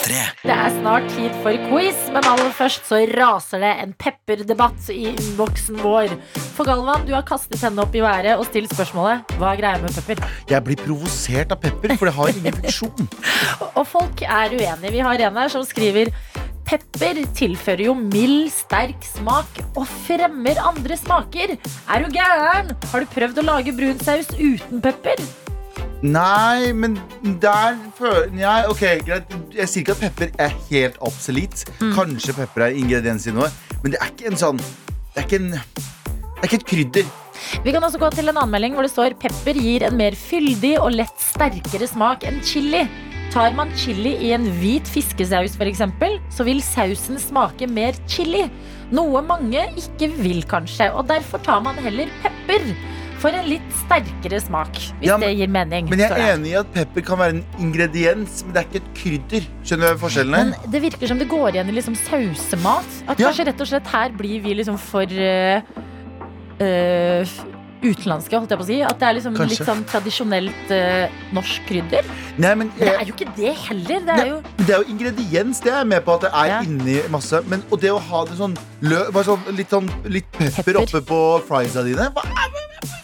Det er snart tid for quiz, men aller først så raser det en pepperdebatt i innboksen vår. For Galvan, du har kastet henne opp i været og stilt spørsmålet Hva er greia med pepper?
Jeg blir provosert av pepper, for det
(laughs)
har ingen funksjon.
Og folk er uenige. Vi har en her som skriver Pepper tilfører jo mild, sterk smak og fremmer andre smaker. Er du gæren? Har du prøvd å lage brun saus uten pepper?
Nei, men der føler Nei, ok, greit. Jeg sier ikke at pepper er helt absolutt.
Mm.
Kanskje pepper er ingrediens i noe, men det er ikke en sånn Det er ikke, en, det er ikke et krydder.
Vi kan også gå til en annen melding hvor det står pepper gir en mer fyldig og lett sterkere smak enn chili. Tar man chili i en hvit fiskesaus f.eks., så vil sausen smake mer chili. Noe mange ikke vil kanskje, og derfor tar man heller pepper. For en litt sterkere smak, hvis
Ja, men-
det gir mening.
Men jeg
står
er
det.
enig i at pepper kan være en ingrediens, men det er ikke et krydder. Skjønner du forskjellen her?
Men det virker som det går igjen i liksom sausemat. At
Ja.
kanskje rett og slett her blir vi liksom for eh, eh, utenlandske, holdt jeg på å si. At det er liksom
Kanskje.
litt sånn tradisjonelt eh, norsk krydder.
Nei, men
Det
jeg,
er jo ikke det heller. Det
Nei.
er jo
Men Det er jo ingrediens, det er jeg med på at det er
Ja.
inni masse. Men, og det å ha det sånn, lø, bare sånn, litt, sånn litt pepper,
Pepper.
oppe på friesa dine hva er-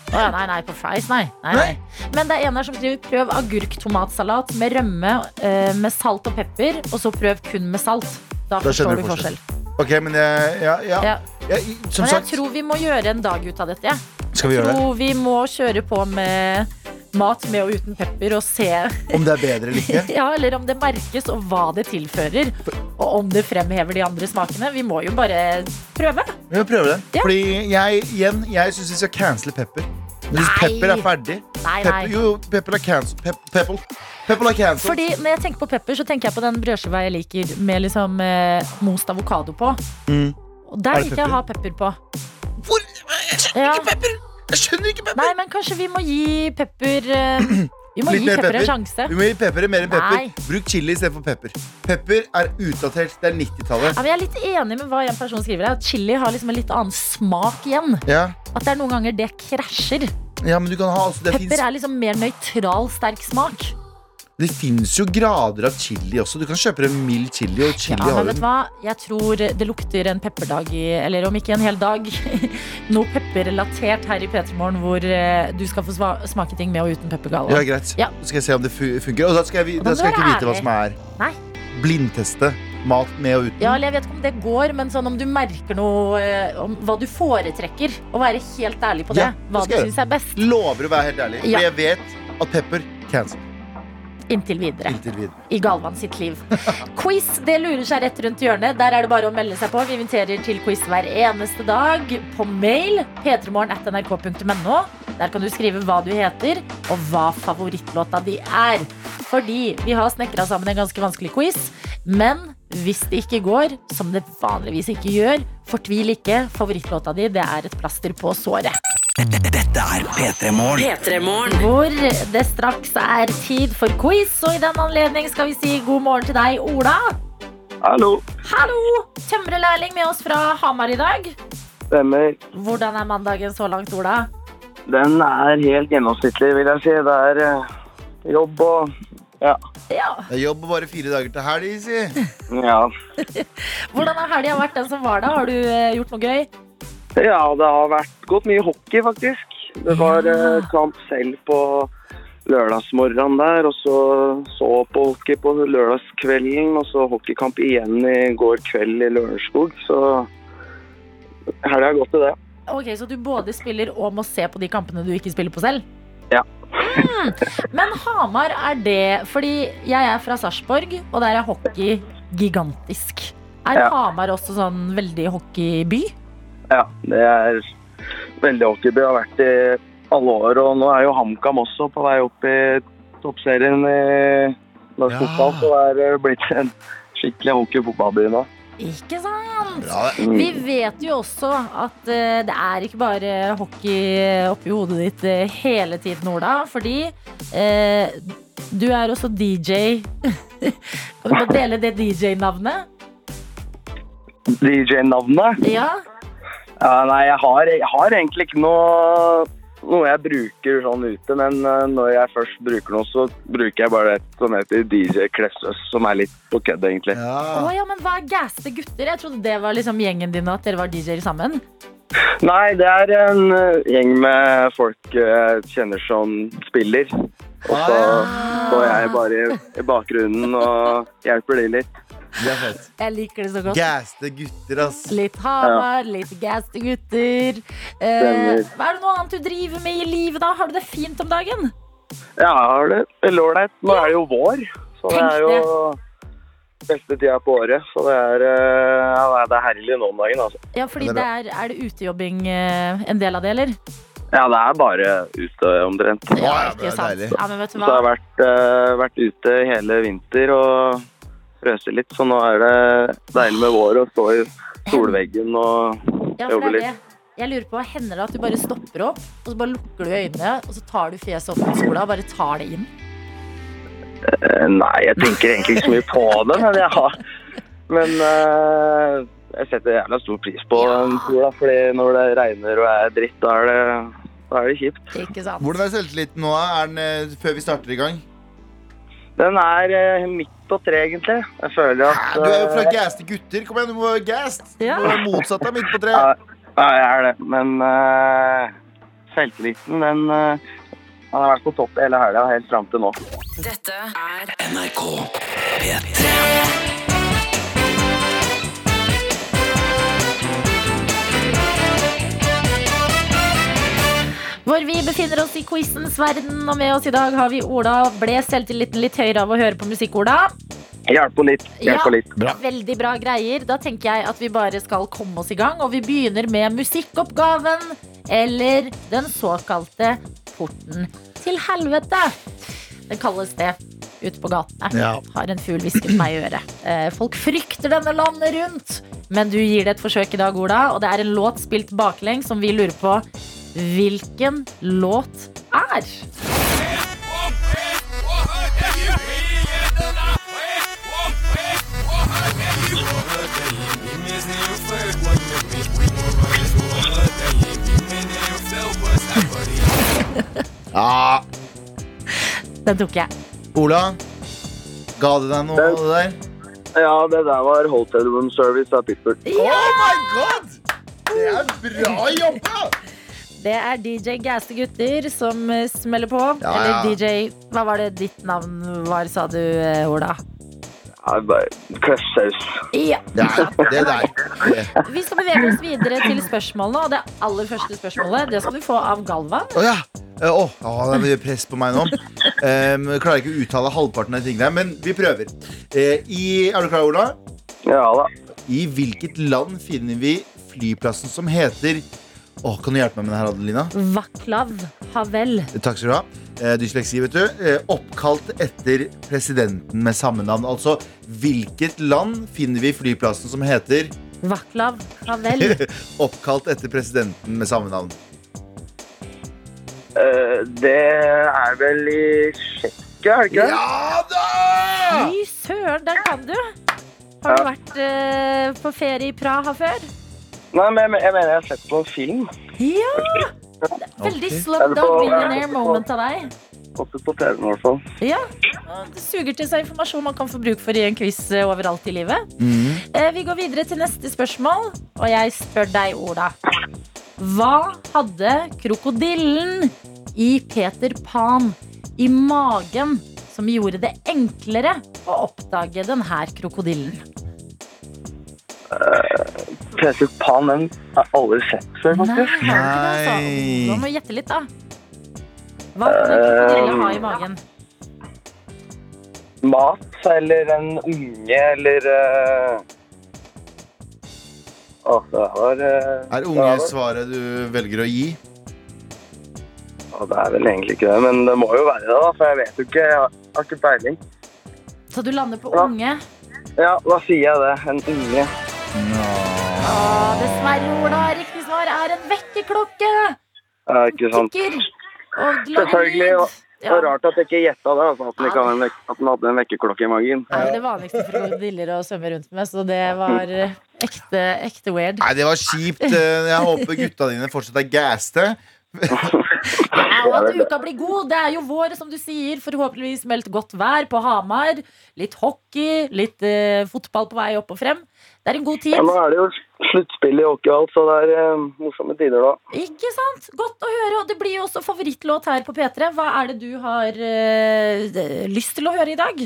Å ja, nei, nei, på fries, nei. nei, nei. Men det er en her som skriver prøv agurk-tomatsalat med rømme eh, med salt og pepper, og så prøv kun med salt. Da,
skjønner
forstår
du
du forskjell.
Ok, men jeg, ja, ja.
Ja.
Jeg, som
Men jeg
sagt,
tror vi må gjøre en dag ut av dette. Jeg
skal vi gjøre det?
tror vi må kjøre på med mat med og uten pepper og se
Om det er bedre eller
(laughs)
ikke.
ja, eller om det merkes og hva det tilfører. Og om det fremhever de andre smakene. Vi må jo bare prøve.
Vi må prøve det.
Ja.
Fordi jeg, igjen, jeg syns vi skal cancele pepper. Jeg synes
Nei.
pepper er ferdig.
Nei, nei.
Pepper, jo, pepper er cancel. Pep, pepper. Pepper er cancel.
Fordi Når jeg tenker på pepper, så tenker jeg på den brødskiva jeg liker med liksom, eh, most avokado på.
Mm.
Og
Er
der
det
liker jeg å ha pepper på.
Hvor? Jeg skjønner
Ja.
ikke pepper! Jeg skjønner ikke pepper!
Nei, men kanskje vi må gi pepper
(clears throat)
eh, Vi må
Litt
gi
mer
pepper en
pepper.
sjanse.
Du må gi pepper mer enn pepper.
Nei.
Bruk chili istedenfor pepper. Pepper er utdatert. Det er 90-tallet.
Ja, men jeg er litt enig med hva en person skriver her. At chili har liksom en litt annen smak igjen.
Ja.
At det er noen ganger det krasjer.
Ja, men du kan ha altså, det
Pepper
fins,
er liksom mer nøytral, sterk smak.
det fins jo grader av chili også. Du kan kjøpe en mild chili,
Ja,
og chili
men
har
vet du
en
hva? Jeg tror det lukter en pepperdag, i, eller om ikke en hel dag, (laughs) noe pepperrelatert her i P3morgen hvor eh, du skal få sva- smake ting med og uten peppergala.
Ja, greit.
Ja.
Så skal jeg se om det fu- funker. Og da skal jeg, vi-
Og da
da skal jeg
må
ikke
være
vite hva
ærlig.
som er
Nei.
blindteste. Mat med og uten.
Ja, eller jeg vet ikke om det går, men sånn om du merker noe eh, om hva du foretrekker, og være helt ærlig på det.
Ja, det
hva
skal
du
jeg
syns er best.
Lover å være helt ærlig.
Ja.
For jeg vet at pepper cancel
Inntil videre.
inntil videre.
i Galvan sitt liv. Quiz det lurer seg rett rundt hjørnet. Der er det bare å melde seg på. Vi inviterer til quiz hver eneste dag på mail. p3morgen.nrk.no. Der kan du skrive hva du heter, og hva favorittlåta di er. Fordi vi har snekra sammen en ganske vanskelig quiz. Men hvis det ikke går, som det vanligvis ikke gjør, fortvil ikke. Favorittlåta di det er et plaster på såret.
Dette er P3 Morgen.
P3morgen.
Hvor det straks er tid for quiz, og i den anledning skal vi si god morgen til deg, Ola.
Hallo,
Hallo! Tømrerlærling med oss fra Hamar i dag.
stemmer.
Hvordan er mandagen så langt, Ola?
Den er helt gjennomsnittlig, vil jeg si. Det er eh, jobb og ja.
Ja.
Det er jobb og bare fire dager til helg, si.
ja.
Hvordan har helga vært den som var da? Har du eh, gjort noe gøy?
Ja, det har vært gått mye hockey, faktisk. Det var eh, kamp selv på lørdagsmorgenen der, og så så på hockey på lørdagskvelden, og så hockeykamp igjen i går kveld i Lørenskog, så helga har gått til det.
Ok, Så du både spiller og må se på de kampene du ikke spiller på selv?
Ja.
Mm. Men Hamar er det Fordi jeg er fra Sarpsborg, og der er hockey gigantisk. Er
Ja.
Hamar også sånn veldig hockeyby?
Ja, det er veldig hockeyby. Har vært i alle år. Og nå er jo HamKam også på vei opp i toppserien i
Ja.
norsk fotball. Så det er eh, blitt en skikkelig hockey-fotballby nå.
Ikke sant?
Bra, det.
Mm.
Vi vet jo også at eh, det er ikke bare hockey oppi hodet ditt eh, hele tiden, Ola. Fordi eh, Du er også DJ. (laughs) Kan du bare dele det DJ-navnet?
DJ-navnet?
Ja.
Ja, nei, jeg har, jeg har egentlig ikke noe, noe jeg bruker sånn ute, men eh, når jeg først bruker noe, så bruker jeg bare et som heter DJ Klessøs, som er litt på kødd, egentlig.
Å
Ja.
ja, men hva er gaste gutter? Jeg trodde det var liksom gjengen din, at dere var DJ-er sammen.
Nei, det er en eh, gjeng med folk eh, jeg kjenner som spiller. Og så står jeg bare i, i bakgrunnen og hjelper de litt.
Det er fett.
Jeg liker det så godt.
Gaste gutter, ass.
Litt Hamar, litt gaste gutter. Eh,
Stemmer.
hva er det noe annet du driver med i livet, da? Har du det fint om dagen?
Ja, jeg har det veldig ålreit. Nå er det jo vår, så det
Tenk
er jo beste tida på året. Så det er, eh, ja, nei, det er herlig nå om dagen, altså.
Ja, fordi
Ja, det
det er, er det utejobbing eh, en del av det, eller?
Ja, det er bare ute omtrent.
Ja, ja, det
ikke
er
sant.
deilig.
Ja, men vet du
Så jeg har
hva?
vært, eh, vært ute hele vinter og frøset litt, så nå er det deilig med vår å stå i solveggen og
Ja, for det
jobbe
er
litt.
det. Jeg lurer på, Hender det at du bare stopper opp og så bare lukker du øynene og så tar du fjeset opp mot sola og bare tar det inn?
Eh, Nei, jeg tenker egentlig ikke så mye på det, men jeg har Men eh, jeg setter jævla stor pris på den sola, fordi når det regner og er dritt, da er det, da er det kjipt.
Ikke sant?
Hvordan er selvtilliten nå? Er den, eh, før vi starter i gang?
Den er eh, midt på tre, egentlig. Jeg føler
Hæ,
at
Du er jo fra
eh,
gaste gutter. Kom igjen, du må være gast.
Ja.
Du er motsatt av midt på tre.
Ja, ja, jeg er det. Men eh, selvtilliten, den eh, Han har vært på topp hele helga, helt fram til nå.
Dette er
NRK P3.
Hvor vi befinner oss i quizens verden, og med oss i dag har vi Ola. Ble selvtilliten litt høyere av å høre på musikk, Ola?
Hjelp på litt. Hjelp på litt.
Veldig bra greier. Da tenker jeg at vi bare skal komme oss i gang, og vi begynner med musikkoppgaven, eller den såkalte porten til helvete. Den kalles det ute på gatene.
Ja.
Har en fugl hvisket meg i øret. Eh, Folk frykter denne landet rundt, men du gir det et forsøk i dag, Ola, og det er en låt spilt baklengs som vi lurer på hvilken låt er.
Ja,
Den tok jeg.
Ola. Ga det deg noe av det der?
Ja, det der var Hotel Room Service av Pittsburgh.
Oh my god! Det er bra jobba!
Det er DJ Gaste Gutter som eh, smeller på.
Ja, ja.
Eller DJ Hva var det ditt navn var, sa du, eh, Ola?
Ja, bare Kløsshaus.
Ja.
Det er det der. Eh, Det-
Vi skal bevege oss videre til spørsmålene, og det aller første spørsmålet det skal du få av Galvan.
Å ja. Eh, Å, å, det er mye press på meg nå. Em, jeg klarer ikke å uttale halvparten av tingene, men vi prøver. Eh, i, er du klar, Ola?
Ja da.
I hvilket land finner vi flyplassen som heter Å, Kan du hjelpe meg med det her, Adelina?
Vaklav Havel.
Takk skal du ha. Eh, Dysleksi, vet du. Eh, Oppkalt etter presidenten med samme navn. Altså, hvilket land finner vi flyplassen som heter
Vaklav Havel.
Oppkalt etter presidenten med samme navn?
Eh, det er vel i Tsjekkia, er det ikke det?
Ja da!
Fy søren, der kan du! Har du vært eh, på ferie i Praha før?
Nei, men jeg, men- jeg mener jeg har sett på en film
Ja! Veldig
Ok.
Er
slum
det på-
dog
er
millionaire
det på-
moment av deg.
oppe på TV-en i hvert fall.
Ja, Det suger til seg informasjon man kan få bruk for i en quiz eh, overalt i livet.
Mhm.
Eh, Vi går videre til neste spørsmål, og jeg spør deg, Ola. Hva hadde krokodillen i Peter Pan i magen som gjorde det enklere å oppdage denne krokodillen?
Peter Pan, den har jeg aldri sett før,
Nei, har du
faktisk.
ikke det, altså?
Nei.
Nå må du gjette litt, da. Hva kan en krokodille
Eh,
ha i magen?
mat eller en unge eller eh, Å, det var eh,
Er
det,
unge
var-
svaret du velger å gi?
Å, det er vel egentlig ikke det, men det må jo være det, da. For jeg vet jo ikke. Jeg har- har ikke peiling.
Så du lander på
Ja.
unge.
Ja, da sier jeg det. En unge.
Å, Ah, dessverre, Ola. Riktig svar er en vekkerklokke.
Ja, ikke sant.
tikker og lager
Sånn. Selvfølgelig,
lyd.
og- Det var rart at jeg ikke gjetta det, altså, at, den ikke hadde en vek- at den hadde en vekkerklokke i magen.
Det er jo det vanligste for krokodiller å svømme rundt med, så det var eh, ekte, ekte weird.
Nei, det var kjipt. Eh, Jeg håper gutta dine fortsatt er gaste.
Ja, og at uka blir god. Det er jo vår, som du sier. Forhåpentligvis meldt godt vær på Hamar. Litt hockey, litt eh, fotball på vei opp og frem. Det er en god
Ja,
tid.
nå er det jo sluttspill i hockey og alt, så det er eh, morsomme tider da.
Ikke sant? Godt å høre. Og det blir jo også favorittlåt her på P3. Hva er det du har eh, d- lyst til å høre i dag?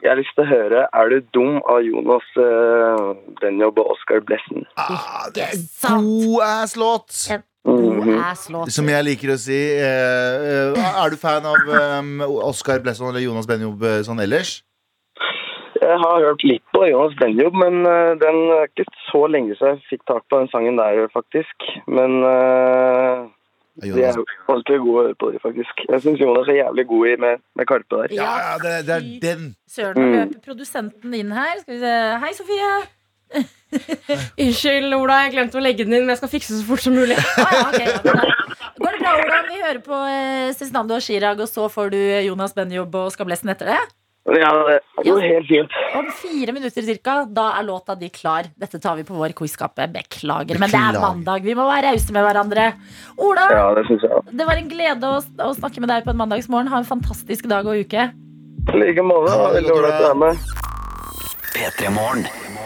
Jeg har lyst til å høre 'Er du dum?' av Jonas uh, Denjob og Oscar Blessen.
Ah, det er
Ikke sant?
god ass-låt!
God
Mhm.
ass-låt.
Som jeg liker å si. eh, eh, er du fan av um, Oskar Blesson eller Jonas Benjob eh, sånn ellers?
Jeg har hørt litt på Jonas Benjob, men eh, den er ikke så lenge siden jeg fikk tak på den sangen der, faktisk. Men eh,
Ja,
de er
Jonas.
ganske gode å høre på, de, faktisk. Jeg syns Jonas er jævlig god i med, med Karpe der.
Ja, ja, det, det er den.
Søren, nå
Mm.
løper produsenten inn her. Skal vi se. Hei, Sofie.
Unnskyld, Ola, jeg glemte å legge den inn, men jeg skal fikse så fort som mulig.
Ah, ja, ok, ja, men da- Går det bra, Ola? Vi hører på eh, Cezinando og Chirag, og så får du eh, Jonas Benjob og Skablesen etter det.
Ja, det går helt fint.
Om fire minutter cirka, da er låta di klar. Dette tar vi på vår quizkappe. Beklager, men det er
Beklager.
mandag. Vi må være rause med hverandre. Ola,
Ja, det syns jeg.
det var en glede å, å snakke med deg på en mandagsmorgen. Ha en fantastisk dag og uke.
I like måte. det var Veldig ålreit å være med.
P3 Morgen.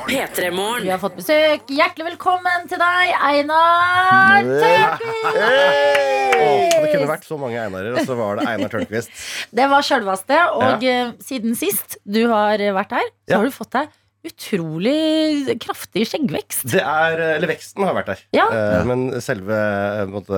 P3
Vi
Morgen.
har fått besøk. Hjertelig velkommen til deg, Einar Tørnquist!
Åh, det kunne vært så mange Einarer, og så var det Einar Tørnquist.
Det var sjølveste. Og eh, siden sist du har eh, vært her, så
Ja.
har du fått deg utrolig kraftig skjeggvekst.
Det er, eh, eller veksten har vært der,
Ja.
Eh, men selve eh, på en måte,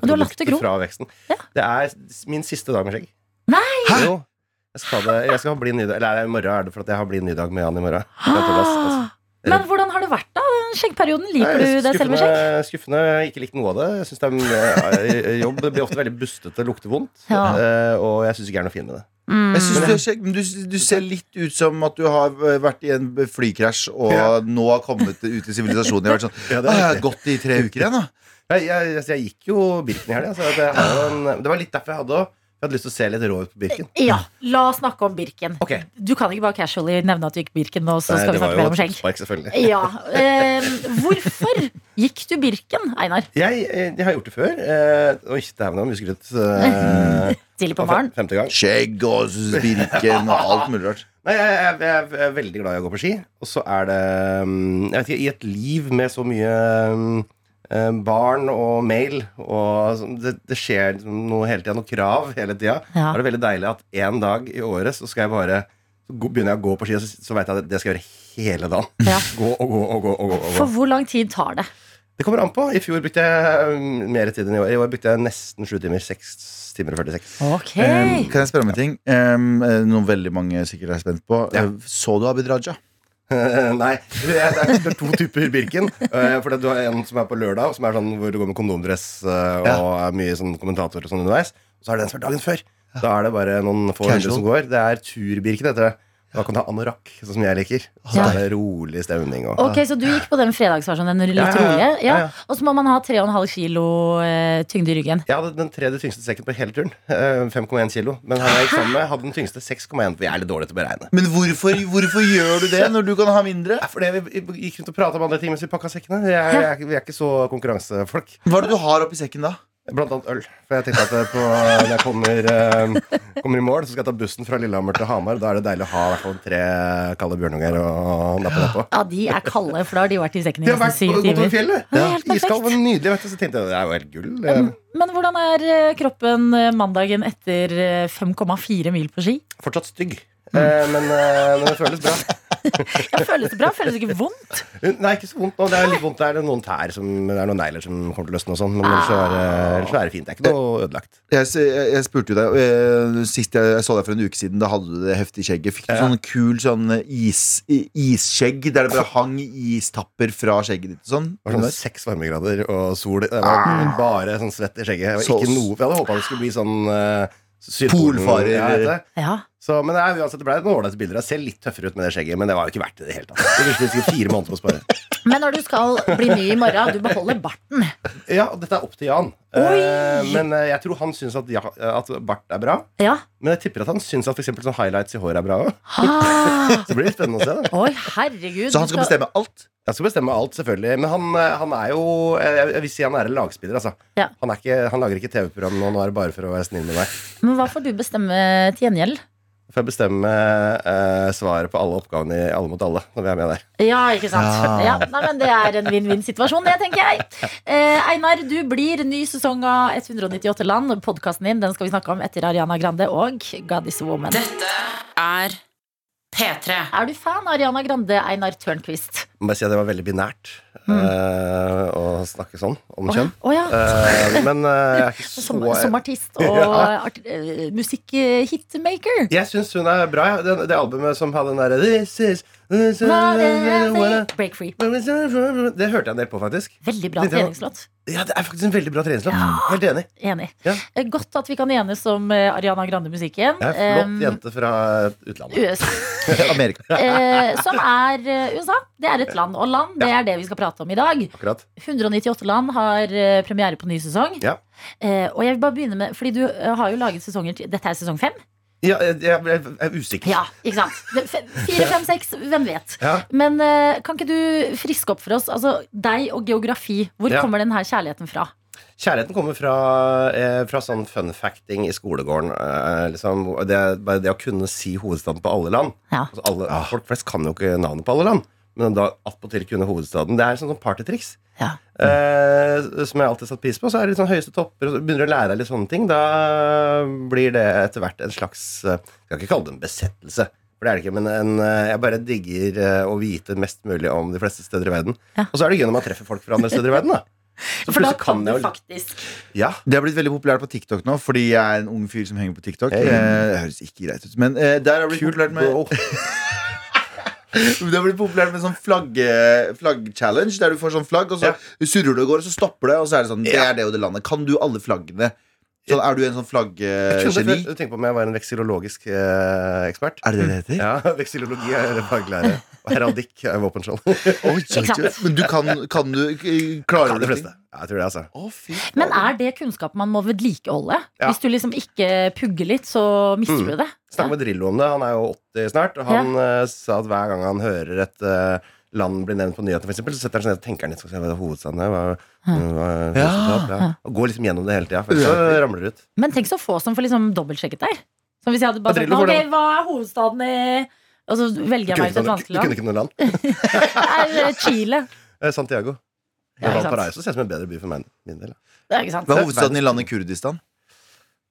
Og du har latt det gro.
produktet fra veksten
Ja.
Det er s- min siste dag med skjegg.
Nei!
Jo, jeg skal, ha det, jeg skal ha blid nydag. Eller i morgen er det for at jeg har blid nydag med han i morgen. Med Thomas, altså.
Ah! Men hvordan har det vært, da? den Skjeggperioden? Liker
Nei,
du det selv med skjegg?
Skuffende, skuffende. Jeg har Ikke likt noe av det. Jeg synes det er eh, Jobb blir ofte veldig bustete, lukter vondt.
Ja.
eh, Og jeg syns ikke jeg er noe fin med det.
Mm.
Jeg synes du, er kjekk, Mm. men du, du ser litt ut som at du har eh, vært i en flykrasj og
Ja.
nå har kommet ut i sivilisasjonen. Jeg har vært sånn,
Ja, det er
«Ah, jeg har
riktig.»
gått i tre uker igjen, da.
Jeg, jeg, altså, jeg gikk jo Birken i helga. så at jeg har jo en- Det var litt derfor jeg hadde også- Jeg hadde lyst til å se litt rå ut på Birken.
Ja, la oss snakke om Birken.
Ok,
Du kan ikke bare casually nevne at du gikk Birken nå, så
Nei,
skal vi
Eh, det var
snakke
jo
mer om
et
skjegg.
oppspark, selvfølgelig.
Ja, eh, Hvorfor gikk du Birken, Einar?
Jeg, eh, jeg har gjort det før. Eh, oi, dæven, nå musket ut. Eh,
Tidlig (laughs) på
og fem,
morgenen?
femte gang.
Skjegg og Birken og alt mulig rart.
Nei, jeg, jeg, jeg, jeg er veldig glad i å gå på ski. Og så er det mm, Jeg vet ikke, i et liv med så mye mm, eh, barn og mail og sånn, det, det skjer liksom noe hele tida, noe krav hele tida.
Ja.
Da er det veldig deilig at én dag i året så skal jeg bare så gå- begynner jeg å gå på ski, og så, så veit jeg at det skal jeg gjøre hele dagen.
Ja.
Gå og gå og gå. og gå, og gå.
For hvor lang tid tar det?
Det kommer an på. I fjor brukte jeg mm, mer tid enn i år. I år brukte jeg nesten sju timer. Seks timer og 46.
Ok
Um, kan jeg spørre om en ting? Um, eh, noe veldig mange sikkert er spent på.
Ja.
Eh, Så du Abid Raja?
(laughs) Nei, det er, det er to typer Birken. Eh, For det- du har en som er på lørdag, som er sånn hvor du går med kondomdress eh, og er mye sånn kommentator og sånn underveis. Og så er det den som er dagen før. Da er det bare noen få
Casual.
hundre som går. Det er turbirken, heter det. Da kan du ha anorakk, sånn som jeg liker. Så
Ja.
er det rolig stemning og
Ok, Så du gikk på den fredagsversjonen? Den litt
Ja, ja, ja.
rolige? Ja.
Ja, ja.
Og så må man ha 3,5 kilo eh, tyngde i ryggen.
Jeg hadde den tredje tyngste sekken på hele turen. eh, 5,1 kilo. Men han jeg gikk sammen med, hadde den tyngste 6,1. For jeg er litt dårlig til å beregne.
Men hvorfor, hvorfor gjør du det når du kan ha mindre?
Det er fordi vi vi gikk rundt og prata om andre ting mens vi pakka sekkene. Vi er, jeg er- vi er ikke så konkurransefolk.
Hva er det du har oppi sekken da?
Blant annet øl. For jeg tenkte at eh, på, når jeg kommer, eh, kommer i mål, så skal jeg ta bussen fra Lillehammer til Hamar. Da er det deilig å ha i hvert fall tre kalde bjørnunger og nappe nedpå.
Ja, de er kalde, for da har de vært i sekken i
Vi har
nesten
vært
syv
gått over
timer.
fjellet.
Det er helt perfekt.
Iskald var nydelig. Vet du. Så tenkte jeg det er jo helt gull. Eh,
Men hvordan er eh, kroppen eh, mandagen etter eh, 5,4 mil på ski?
Fortsatt stygg. Eh, Men, eh, men det føles bra.
Ja, føles det bra? Føles det ikke vondt?
Nei, ikke så vondt nå. Det er litt vondt. Det er noen tær som, det er noen negler som kommer til å løsne og sånn. Men
Ah.
ellers så er, det- ellers så er det fint. Det er ikke noe ødelagt.
Jeg, s- jeg, jeg spurte jo deg eh, Sist jeg, jeg så deg for en uke siden, da hadde du det heftige skjegget. Fikk du
Ja.
sånn kul sånn is, i- isskjegg der det bare hang istapper fra skjegget ditt og sånn?
Det var sånn seks varmegrader og sol. Det var Bare sånn svett i skjegget. Jeg, var
Ah. Så-
ikke noe, jeg hadde håpa det skulle bli sånn uh,
Polfarer.
Ja, vet du.
Ja.
Så, men nei, uansett, det ble noen ålreite bilder. Jeg ser litt tøffere ut med det skjegget, men det var jo ikke verdt det i det hele tatt. Det brukte sikkert fire måneder på å spare.
Men når du skal bli ny i morgen, du beholder barten.
Ja, og dette er opp til Jan. Eh, men eh, jeg tror han syns at, ja, at bart er bra.
Ja.
Men jeg tipper at han syns at for eksempel sånn highlights i håret er bra òg.
Ah,
Så det blir litt spennende å se. da
oi, herregud.
Så han
du
skal bestemme alt?
Jeg skal bestemme alt, selvfølgelig. Men han, eh, han er jo Jeg, jeg vil si han er en lagspiller, altså.
Ja.
Han, er ikke, han lager ikke TV-program nå, nå er det bare for å være snill med meg.
Men hva får du bestemme til gjengjeld?
Får jeg bestemme eh, svaret på alle oppgavene i Alle mot alle når vi er med der.
Ja, ikke sant?
Ja.
Ja. nei, men det er en vinn-vinn-situasjon, det tenker jeg. Eh, Einar, du blir ny sesong av 198 land. Podkasten din den skal vi snakke om etter Ariana Grande og God is a woman.
Dette er P3.
Er du fan av Ariana Grande, Einar Tørnquist?
Jeg må bare si at det var veldig binært
Mm.
eh, å snakke sånn om kjønn.
Å ja.
Eh, men eh, jeg er ikke så
(laughs) Som, som artist og
(laughs) Ja.
art, eh, musikk-hitmaker.
Jeg syns hun er bra. Ja. Det, det albumet som hadde den derre This is this is-
Break free.
Det hørte jeg en del på, faktisk.
Veldig bra
Det- det var-
treningslåt.
Ja, Det er faktisk en veldig bra treningslåt. Helt enig.
Enig.
Ja.
Eh, Godt at vi kan enes om eh, Ariana Grande-musikken. Eh,
Jeg er en flott
Em,
jente fra utlandet.
USA.
(laughs)
Amerika.
Eh, som er eh, USA. Det er et land. Og land, det er det vi skal prate om i dag.
Akkurat.
198 land har eh, premiere på ny sesong.
Ja.
Eh, og jeg vil bare begynne med Fordi du eh, har jo laget sesonger til Dette er sesong fem?
Ja, jeg, jeg, jeg er usikker.
Ja, ikke sant? Det- fe- Fire, fem, seks, hvem vet.
Ja.
Men eh, kan ikke du friske opp for oss altså, deg og geografi? Hvor
Ja.
kommer den her kjærligheten fra?
Kjærligheten kommer fra, eh, fra sånn funfacting i skolegården. Eh, liksom, det, er bare det å kunne si hovedstaden på alle land.
Ja.
Altså, alle, Folk flest kan jo ikke navnet på alle land, men da attpåtil kunne hovedstaden. Det er sånn, sånn partytriks.
Ja.
Eh, som jeg alltid har satt pris på. Så er det litt sånn høyeste topper, og så begynner du å lære deg litt sånne ting. Da blir det etter hvert en slags eh, Jeg skal ikke kalle det en besettelse, for det er det ikke, men en, eh, jeg bare digger eh, å vite mest mulig om de fleste steder i verden.
Ja.
Og så er det gøy når man treffer folk fra andre steder i verden, da.
(laughs)
Så
For da
plutselig
kan du
jeg jo-
faktisk
Ja.
Det har blitt veldig populært på TikTok nå, fordi jeg er en ung fyr som henger på TikTok.
Hey.
Eh, det høres ikke greit ut, men eh, der har det blitt populært med
bro.
(laughs)
eh,
Det har blitt populært med sånn flagg- flagg-challenge, der du får sånn flagg, og så
Ja.
surrer du og går, og så stopper det, og så er det sånn Det
Ja.
er det og det landet. Kan du alle flaggene? Sånn, er du en sånn
Jeg kunne
flagggeni?
før- tenke på om jeg var en veksilologisk eh, ekspert.
Er det det det heter?
Ja, (laughs) Veksilologi er det faglære. Og heraldikk er våpenskjold.
Oi, så
Ikke
gøy.
sant?
Men du kan, kan du k- Klarer
De
du
fleste. Ja, jeg tror det, altså.
Å, fy
Men
faen.
er det kunnskap man må vedlikeholde?
Ja.
Hvis du liksom ikke pugger litt, så mister
Mm.
du det?
Snakka med Drillo om det. Han er jo 80 snart. Og han eh, sa at hver gang han hører et eh, land bli nevnt på nyhetene, for eksempel, så setter han seg ned og tenker han litt sånn, hva er hovedstaden her? Hva, hva, er hovedstaden? ja. Og går liksom gjennom det hele tida. Så ramler det ut.
Men tenk så få som får liksom dobbeltsjekket der. Som hvis jeg hadde bare sagt
Adrillo får
Ok,
det,
hva er hovedstaden i Og så velger
Du
jeg
kunne
meg ut
ikke
et vanskelig land.
noe- du kunne ikke noe land.
Det er
(laughs)
Chile.
Eh, Santiago.
Ja, ikke sant.
Valparaiso ser ut som en bedre by for meg, min del.
Det er ikke sant.
Hva er hovedstaden i landet Kurdistan?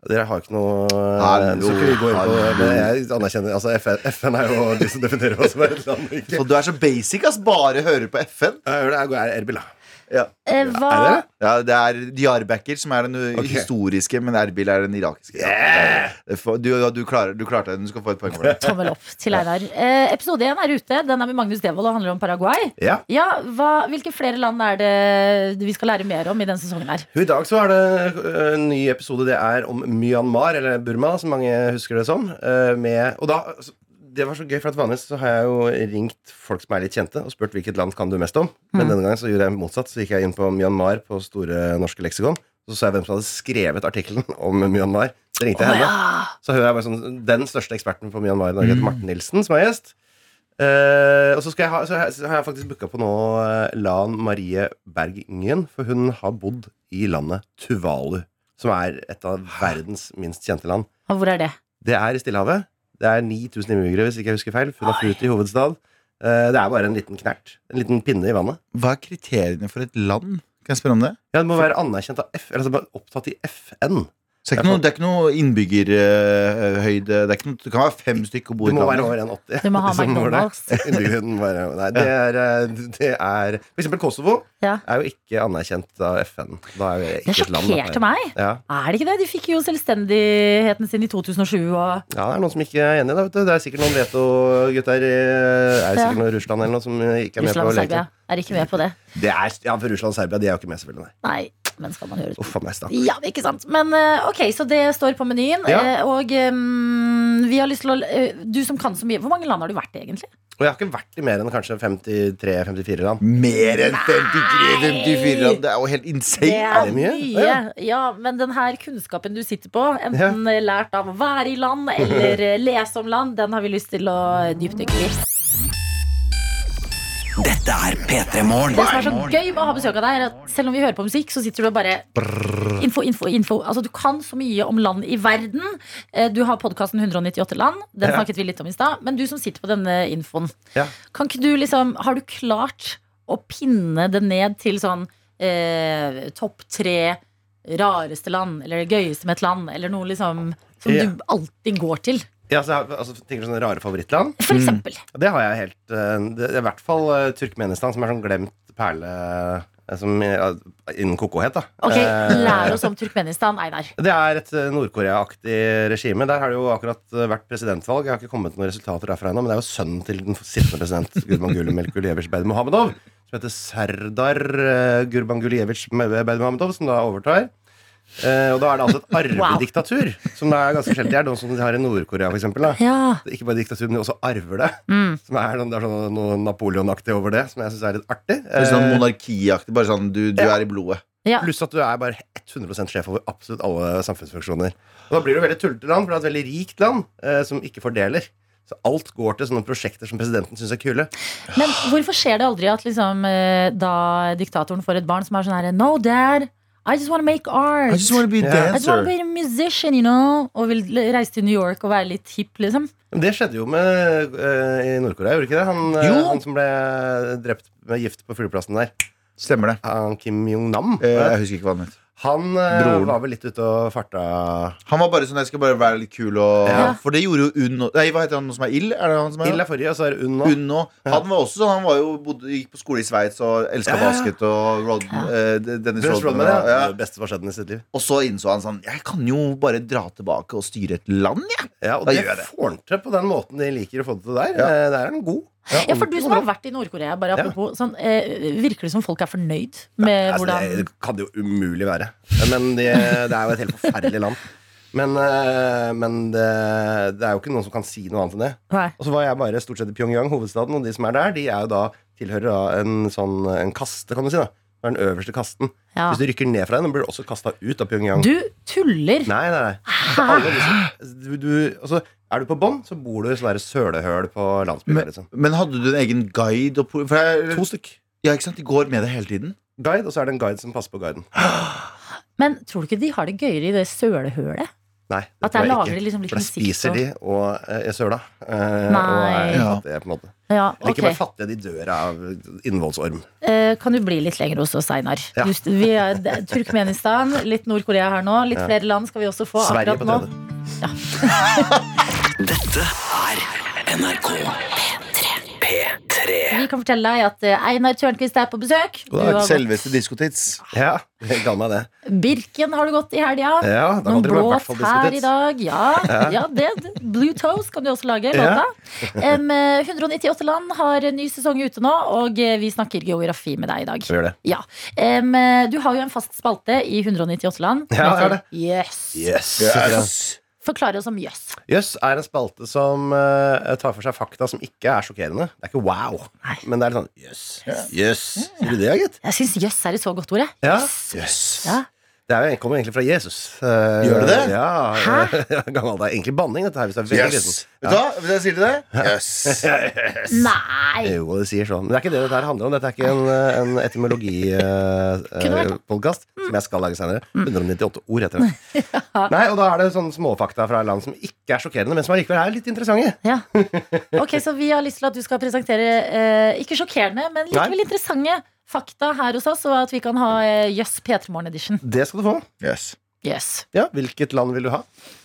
Dere har ikke noe eh,
Hallo,
så kan vi gå inn på,
hallo.
men Jeg anerkjenner altså FN, FN er jo de som definerer hva som er et land. og Ikke.
Så du er så basic, ass. Bare hører på FN.
Jeg hører det, jeg går Erbil, da.
Eh, Hva
Er det det?
Ja, Det er Diyarbekker som er den uh,
Ok.
historiske, men Erbil er den irakiske. Det er for- Du, du, klarer, du klarte det. Du skal få et poeng for det.
Tommel opp til
(laughs)
Einar. Eh, episode én er ute. Den er med Magnus Devold og handler om Paraguay.
Ja.
Ja, hva, Hvilke flere land er det vi skal lære mer om i denne sesongen her?
I dag så er det ø, en ny episode Det er om Myanmar, eller Burma, som mange husker det som. ø, Med, og da, altså, det var så gøy, for at vanligvis så har jeg jo ringt folk som er litt kjente, og spurt hvilket land kan du mest om. Men denne gangen så gjorde jeg motsatt, så gikk jeg inn på Myanmar på Store norske leksikon. Så så jeg hvem som hadde skrevet artikkelen om Myanmar. Så ringte jeg henne. Så hun er bare sånn, den største eksperten på Myanmar i Norge heter Martin Nilsen, som er gjest. Eh, og så, skal jeg ha, så, har jeg- så har jeg faktisk booka på nå eh, Lan Marie Berg Ingen, for hun har bodd i landet Tuvalu, som er et av verdens minst kjente land.
Og hvor er det?
Det er i Stillehavet. Det er 9000 innbyggere, hvis ikke jeg husker feil. Hun har flyttet i hovedstad. Eh, det er bare en liten knert. En liten pinne i vannet.
(laughs) Hva er kriteriene for et land? Kan jeg spørre om det?
Ja, Det må være anerkjent av F, eller altså bare opptatt i FN.
Så det, er ikke noe, det er ikke noe innbyggerhøyde Det, er ikke noe, det kan være fem stykker og bo
Du
i et
må være
land.
over 1,80.
Du må
(laughs)
ha
som mål der.
McDonald's.
Innbyggeren bare Nei, det er, eh, det er For eksempel Kosovo
Ja.
er jo ikke anerkjent av FN. Da er jo ikke
Det
et land.
sjokkerte meg.
Ja.
Er det ikke det? De fikk jo selvstendigheten sin i 2007 og
ja, det er noen som ikke er enig, da. Vet du. Det er sikkert noen veto-gutter. eh, Er det
Ja.
sikkert noen Russland eller noe som eh, ikke er med
Russland og
på leken.
Serbia er ikke med på det.
Det er, ja, for Russland og Serbia de er jo ikke med, selvfølgelig. Nei.
Nei. men skal man høre
Uff a meg, stakkar.
Ja, det er ikke sant. Men eh, ok, så det står på menyen.
Ja.
eh, Og eh, vi har lyst til å eh, Du som kan så mye, hvor mange land har du vært i, egentlig?
Og jeg har ikke vært i mer enn kanskje 53-54 land.
Mer enn 53-54 land! Det er jo helt insane!
er det mye?
Ja, men den her kunnskapen du sitter på, enten eh, lært av å være i land eller eh, lese om land, den har vi lyst til å dypdykke i.
Dette er P3 Morgen.
Det som er så gøy med å ha besøk av deg, er at selv om vi hører på musikk, så sitter du og bare Info, info, info. Altså, du kan så mye om land i verden. Eh, Du har podkasten 198 land. Den
Ja.
snakket vi litt om i stad. Men du som sitter på denne infoen,
Ja.
kan ikke du liksom Har du klart å pinne det ned til sånn eh, topp tre rareste land, eller det gøyeste med et land, eller noe liksom som
Ja.
du alltid går til?
Ja, så jeg har, altså, tenker du sånne rare favorittland?
For eksempel.
Det har jeg helt eh, det, det er I hvert fall eh, Turkmenistan, som er sånn glemt perle eh, som, ja, innen kokohet, da.
Ok,
Eh,
lær oss om Turkmenistan, Einar.
Det er et eh, Nord-Korea-aktig regime. Der har det jo akkurat eh, vært presidentvalg. Jeg har ikke kommet noen resultater derfra ennå, men det er jo sønnen til den sittende president Gurbanguly Melkulievitsj Berdimuhamedov, som heter Serdar eh, Gurbangulievitsj Berdimuhamedov, eh, som da overtar. Eh, og da er det altså et arvediktatur, som da er ganske sjeldent. Det er noe som de har i Nord-Korea, for eksempel. Da.
Ja.
Det er Ikke bare diktatur, men de også arver det.
Mm.
Som er, noe- det er sånn noe Napoleon-aktig over det, som jeg syns er litt artig.
Det er Sånn
Eh,
monarkiaktig. Bare sånn du, du er i blodet.
ja.
Pluss at du er bare 100 sjef over absolutt alle samfunnsfunksjoner. Og da blir det jo veldig tullete land, for det er et veldig rikt land eh, som ikke fordeler. Så alt går til sånne prosjekter som presidenten syns er kule.
Men hvorfor skjer det aldri at liksom, eh, da diktatoren får et barn som er sånn her No, dad, I just want to make art.
I just wanna be a
Ja.
I just wanna
dancer.
be a musician, you know. Og vil l- reise til New York og være litt hipp, liksom.
Men det skjedde jo med eh, i Nord-Korea, gjorde det ikke det? Han, eh,
Jo.
han som ble drept med gift på flyplassen der.
Stemmer det.
Han Kim Jong-nam.
Eh, Jeg husker ikke hva han het.
Han eh,
Broren.
var vel litt ute og farta
Han var bare sånn 'jeg skal bare være litt kul' og
Ja.
For det gjorde jo Unn og- Nei, hva heter han som er Ild? Er det han som er
Ild er forrige, og så er det Unn nå.
Unn nå. Han var også sånn, han var jo, bodde, gikk på skole i Sveits og elska
Ja, ja.
basket og Rod, eh, Dennis
Dennis
Rodman.
Rodman,
og-
ja.
ja.
Det beste som har skjedd i sitt liv.
Og så innså han sånn Jeg kan jo bare dra tilbake og styre et land, jeg.
Ja, og
Da
det
gjør jeg det.
får han til på den måten de liker å få det til der.
Ja.
Eh, Der er han god.
Ja, for du som har vært i Nord-Korea, bare apropos, sånn, eh, virker det som folk er fornøyd med
Altså,
hvordan
det, det kan det jo umulig være. Men det, det er jo et helt forferdelig land. Men, eh, men det, det er jo ikke noen som kan si noe annet enn det.
Nei.
Og så var jeg bare stort sett i Pyongyang, hovedstaden, og de som er der, de er jo da, tilhører da en sånn en kaste, kan du si. da Det er den øverste kasten.
Ja.
Hvis du rykker ned fra den, blir du også kasta ut av Pyongyang.
Du tuller!
Nei, nei, nei. Så alle de som- du, du, altså, er du på bånn, så bor du i sånne der sølehøl på landsbyen.
Men,
Liksom.
men hadde du en egen guide? Og, po- for
To
jeg,
stykk.
ja, ikke sant? De går med deg hele tiden.
Guide, og så er det en guide som passer på guiden.
Men tror du ikke de har det gøyere i det sølehølet?
Nei, det
At der
tror jeg
lager
ikke.
de liksom litt
For da
musikk
spiser
og-
de og eh, er søla. Eh,
Nei.
Og er
Ja.
fattige, på en måte.
Ja,
Eller
ok.
ikke bare fattige, de dør av innvollsorm.
Eh, kan du bli litt lenger hos oss, Einar?
Ja.
Du- vi er- det- Turkmenistan, litt Nord-Korea her nå. Litt flere land skal vi også få
Sverige
akkurat
på
nå.
tredje.
Dette er NRK P3.
Vi kan fortelle deg at eh, Einar Tørnquist er på besøk. Du har gått
Selveste diskotids.
Ja, jeg ga meg det.
Birken har du gått i helga.
Ja, da
Noen
hadde det vært i
blås
hvert fall
her i
diskutert.
dag. Ja, ja det. det- Blue Toes kan du også lage låta.
Ja.
Em, eh, 198 land har en ny sesong ute nå, og eh, vi snakker geografi med deg i dag.
Vi gjør det.
Ja. Em, eh, du har jo en fast spalte i 198 land. som
Ja, jeg har
heter Jøss.
Yes. Jøss
Yes.
Forklar oss om jøss.
er en spalte som eh, tar for seg fakta som ikke er sjokkerende. Det er ikke wow,
Nei. Mm.
men det er litt sånn jøss. Yes. Jøss. Sier du det, gitt?
Jeg syns jøss er et så godt ord, jeg.
Ja.
Yes.
Ja.
Det er jo, kommer egentlig fra Jesus. Eh,
Gjør det det?
Ja.
Hæ?
ja, (laughs) gammel, det er egentlig banning, dette her. Hvis det er veldig liten.
Yes. Vet du hva Vet du hva jeg sier til deg? Yes.
Nei!
Jo, det sier sånn. Men det er ikke det dette her handler om. Dette er ikke en, eh, en
Kunne vært. Mm.
etymologipodkast, som jeg skal lage senere. 198 ord heter det.
(laughs)
Nei, og da er det sånne småfakta fra land som ikke er sjokkerende, men som allikevel er litt interessante.
Ja. Ok, Så vi har lyst til at du skal presentere eh, ikke sjokkerende, men likevel
Nei.
interessante fakta her hos oss, og at vi kan ha eh, Jøss P3 Morgen Edition.
Det skal du få.
yes.
Yes.
Ja, Hvilket land vil du ha?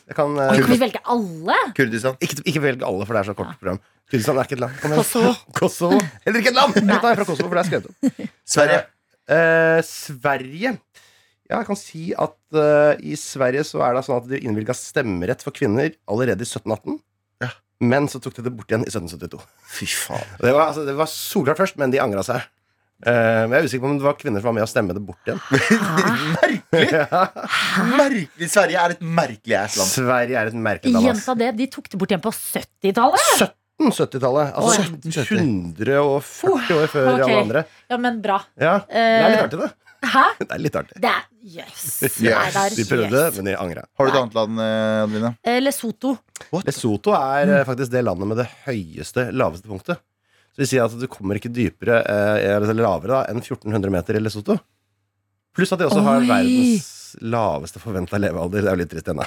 Jeg kan, eh,
Og kan vi velge alle?
Kurdistan.
ikke, ikke velg alle, for det er så kort program. Kurdistan er ikke et land. Kom igjen.
Kosovo.
(laughs) Kosovo. Heller ikke et land! Nå tar jeg fra Kosovo, for det er skrevet om.
Sverige.
Eh, Sverige. Ja, jeg kan si at eh, i Sverige så er det sånn at de innvilga stemmerett for kvinner allerede i 1718.
Ja.
Men så tok de det bort igjen i 1772.
Fy faen.
Det var, altså, det var solklart først, men de angra seg. Eh, men jeg er usikker på om det var kvinner som var med å stemme (laughs) det bort igjen.
Ah,
(laughs)
Merkelig, Sverige er et merkelig ass-land.
Sverige er et merkelig land. ass.
Gjenta det. De tok det bort igjen på 70-tallet.
1770-tallet. Altså 140 år før
Ok.
alle andre.
Ja, men bra. Eh,
Ja, Det er litt artig, det.
Hæ?
Det er litt artig.
Det er Yes. Nei, det er
Vi prøvde,
yes.
men de angra.
Har du et annet land, eh, Adeline?
Eh, Lesotho.
Lesotho er eh, faktisk det landet med det høyeste, laveste punktet. Så vi sier at du kommer ikke dypere eh, eller lavere da, enn 1400 meter i Lesotho. Pluss at de også har
Oi.
verdens laveste forventa levealder. Det er jo litt trist ennå.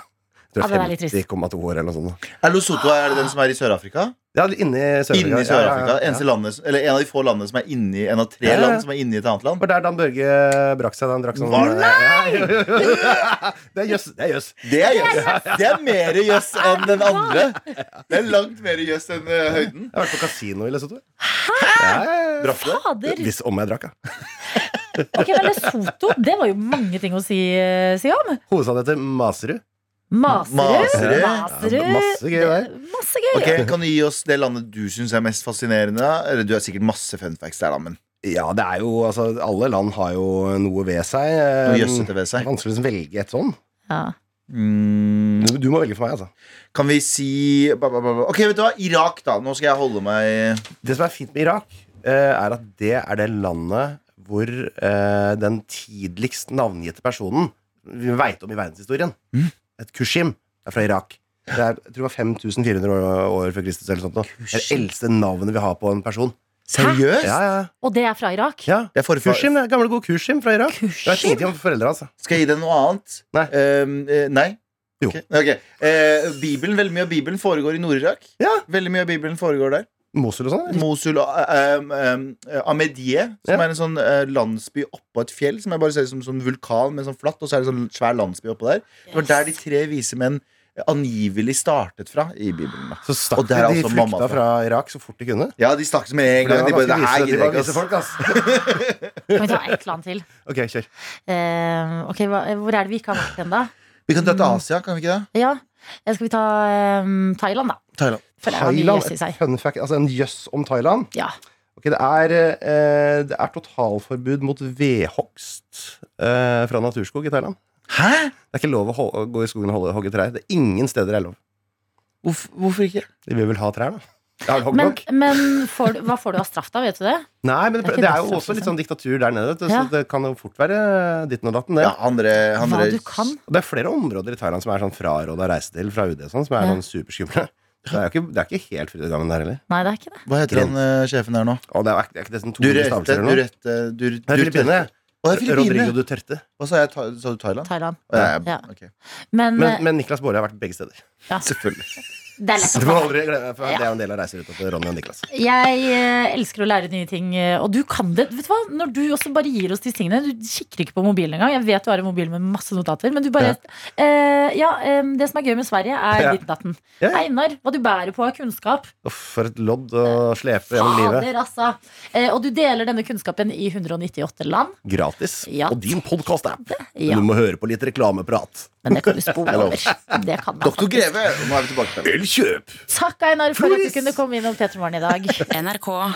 Jeg
Ja,
tror
det er litt trist.
50,2 år eller noe sånt.
Er Lesotho er det den som er i Sør-Afrika?
Ja, inni Sør-Afrika.
Inni
Ja, ja,
Sør-Afrika?
ja.
Eneste landet som- Eller en av de få landene som er inni En av tre
Ja, ja.
land som er inni et annet land?
Det var der Dan Børge brakk seg. Da han drakk sånn
Var det?
(laughs) Ja, jo, jo, jo. Det er jøss. Det er jøss.
Det er jøss. Det er mer jøss enn den andre. Det er langt mer jøss enn eh, høyden.
Jeg har vært på kasino i Lesotho. Hæ?
Brakk det?
Fader!
Hvis om jeg drakk, ja.
Ok, men Lesotho, det var jo mange ting å si, eh, si om.
Hovedstaden heter Maserud.
Maserud.
Maserud.
Maserud.
Ja, masse gøy der.
Det- Masse gøy.
Ok, Eh, Kan du gi oss det landet du syns er mest fascinerende? da? Eller Du har sikkert masse fun facts der, da, men
Ja, det er jo altså, Alle land har jo noe ved seg. eh,
noe jøssete ved
Det er
seg.
vanskelig å velge et sånn.
Ja.
Mm,
Du, du må velge for meg, altså.
kan vi si ba, ba, ba, ba. Ok, vet du hva? Irak, da. Nå skal jeg holde meg
Det som er fint med Irak, eh, er at det er det landet hvor eh, den tidligst navngitte personen vi veit om i verdenshistorien, et Kushim, er fra Irak. Det er, jeg tror det var 5400 år, år før Kristus. eller sånt nå. Det er det eldste navnet vi har på en person.
Seriøst?
Ja, ja,
Og det er fra Irak?
ja.
Jeg får-
Kushim, det er gamle, gode Kushim fra Irak. Jeg vet
Kushim?
ingenting om foreldra hans. altså.
Skal jeg gi deg noe annet?
Nei.
Ehm, eh, nei?
Jo.
Ok, ok. Eh, Bibelen, Veldig mye av Bibelen foregår i Nord-Irak.
Ja.
Veldig mye av Bibelen foregår der.
Mosul og sånn? eller?
Mosul og ehm, ehm, eh, Amedie, som
Ja.
er en sånn eh, landsby oppå et fjell som jeg bare ser ut som en sånn vulkan med sånn flatt, og så er det en sånn svær landsby oppå der. Det var der de tre vise menn eh, angivelig startet fra i Bibelen. Da.
Så stakk
Og der
de,
er
de
altså mamma fra.
flykta fra Irak så fort de kunne.
Ja, de snakket med en gang. De bare, det her gidder jeg ikke, ass." (laughs)
Kan vi ta ett land til?
Ok, kjør.
Eh, ok, hva, Hvor er det vi ikke har vært ennå?
Vi kan dra til Asia, kan vi ikke det?
Ja. eh, Skal vi ta eh, Thailand, da?
Thailand.
For det har mye jøss i seg.
fun fact, altså en jøss om Thailand.
Ja.
Ok, det er, eh, det er totalforbud mot vedhogst eh, fra naturskog i Thailand.
Hæ?
Det er ikke lov å ho- gå i skogen og holde- hogge trær. Det er ingen steder det er lov.
Hvorf- hvorfor ikke?
De vil vel ha trær, da. Har du hogd
Men,
nok?
men får, du- hva får du av straff, da? Vet du det?
Nei, men
Det er
det,
ikke
det er jo
det
også
straffen,
litt sånn diktatur der nede, så
Ja.
det kan jo fort være ditten og datten. Det.
Ja, andre, andre
Hva du kan?
Og det er flere områder i Thailand som er sånn fraråda å reise til fra UD, og sånn, som er
Ja.
sånn superskumle. Så Det er, jo ikke, det er ikke helt fritt i gangen der heller.
Nei, det er ikke det.
Hva heter han eh, sjefen der nå?
Og det er, ikke- det er ikke det som
Du
200
rette,
stavelser
du
eller noe.
rette du,
Det er
Å,
Filippinene.
det er
Rodrigo
Filippinene.
Duterte.
Hva sa jeg? Tha- Sa du Thailand?
Thailand.
Å, ja,
Ja.
ok.
Men,
Men, men Niklas Baarli har vært begge steder.
ja,
Selvfølgelig.
det er lett å
Du må aldri glemme, for
Ja.
Det er jo en del av reiseruta til Ronny og Niklas.
Jeg eh, elsker å lære nye ting, eh, og du kan det. Vet du hva? Når du også bare gir oss disse tingene Du kikker ikke på mobilen engang. Jeg vet du har en mobil med masse notater, men du bare Eh, Ja, eh, det som er gøy med Sverige, er
Ja.
ditt datten.
Ja, ja.
Einar, hva du bærer på av kunnskap.
Uff, for et lodd å slepe gjennom livet.
Fader, altså. Eh, og du deler denne kunnskapen i 198 land.
Gratis.
Ja.
Og din podkast-app.
Ja.
Men du må høre på litt reklameprat.
Men det kan du spole over. Det kan man. altså.
Doktor Greve! Nå er vi tilbake til det.
Elkjøp!
Takk, Einar, for at du kunne komme innom P3 Morgen i dag.
NRK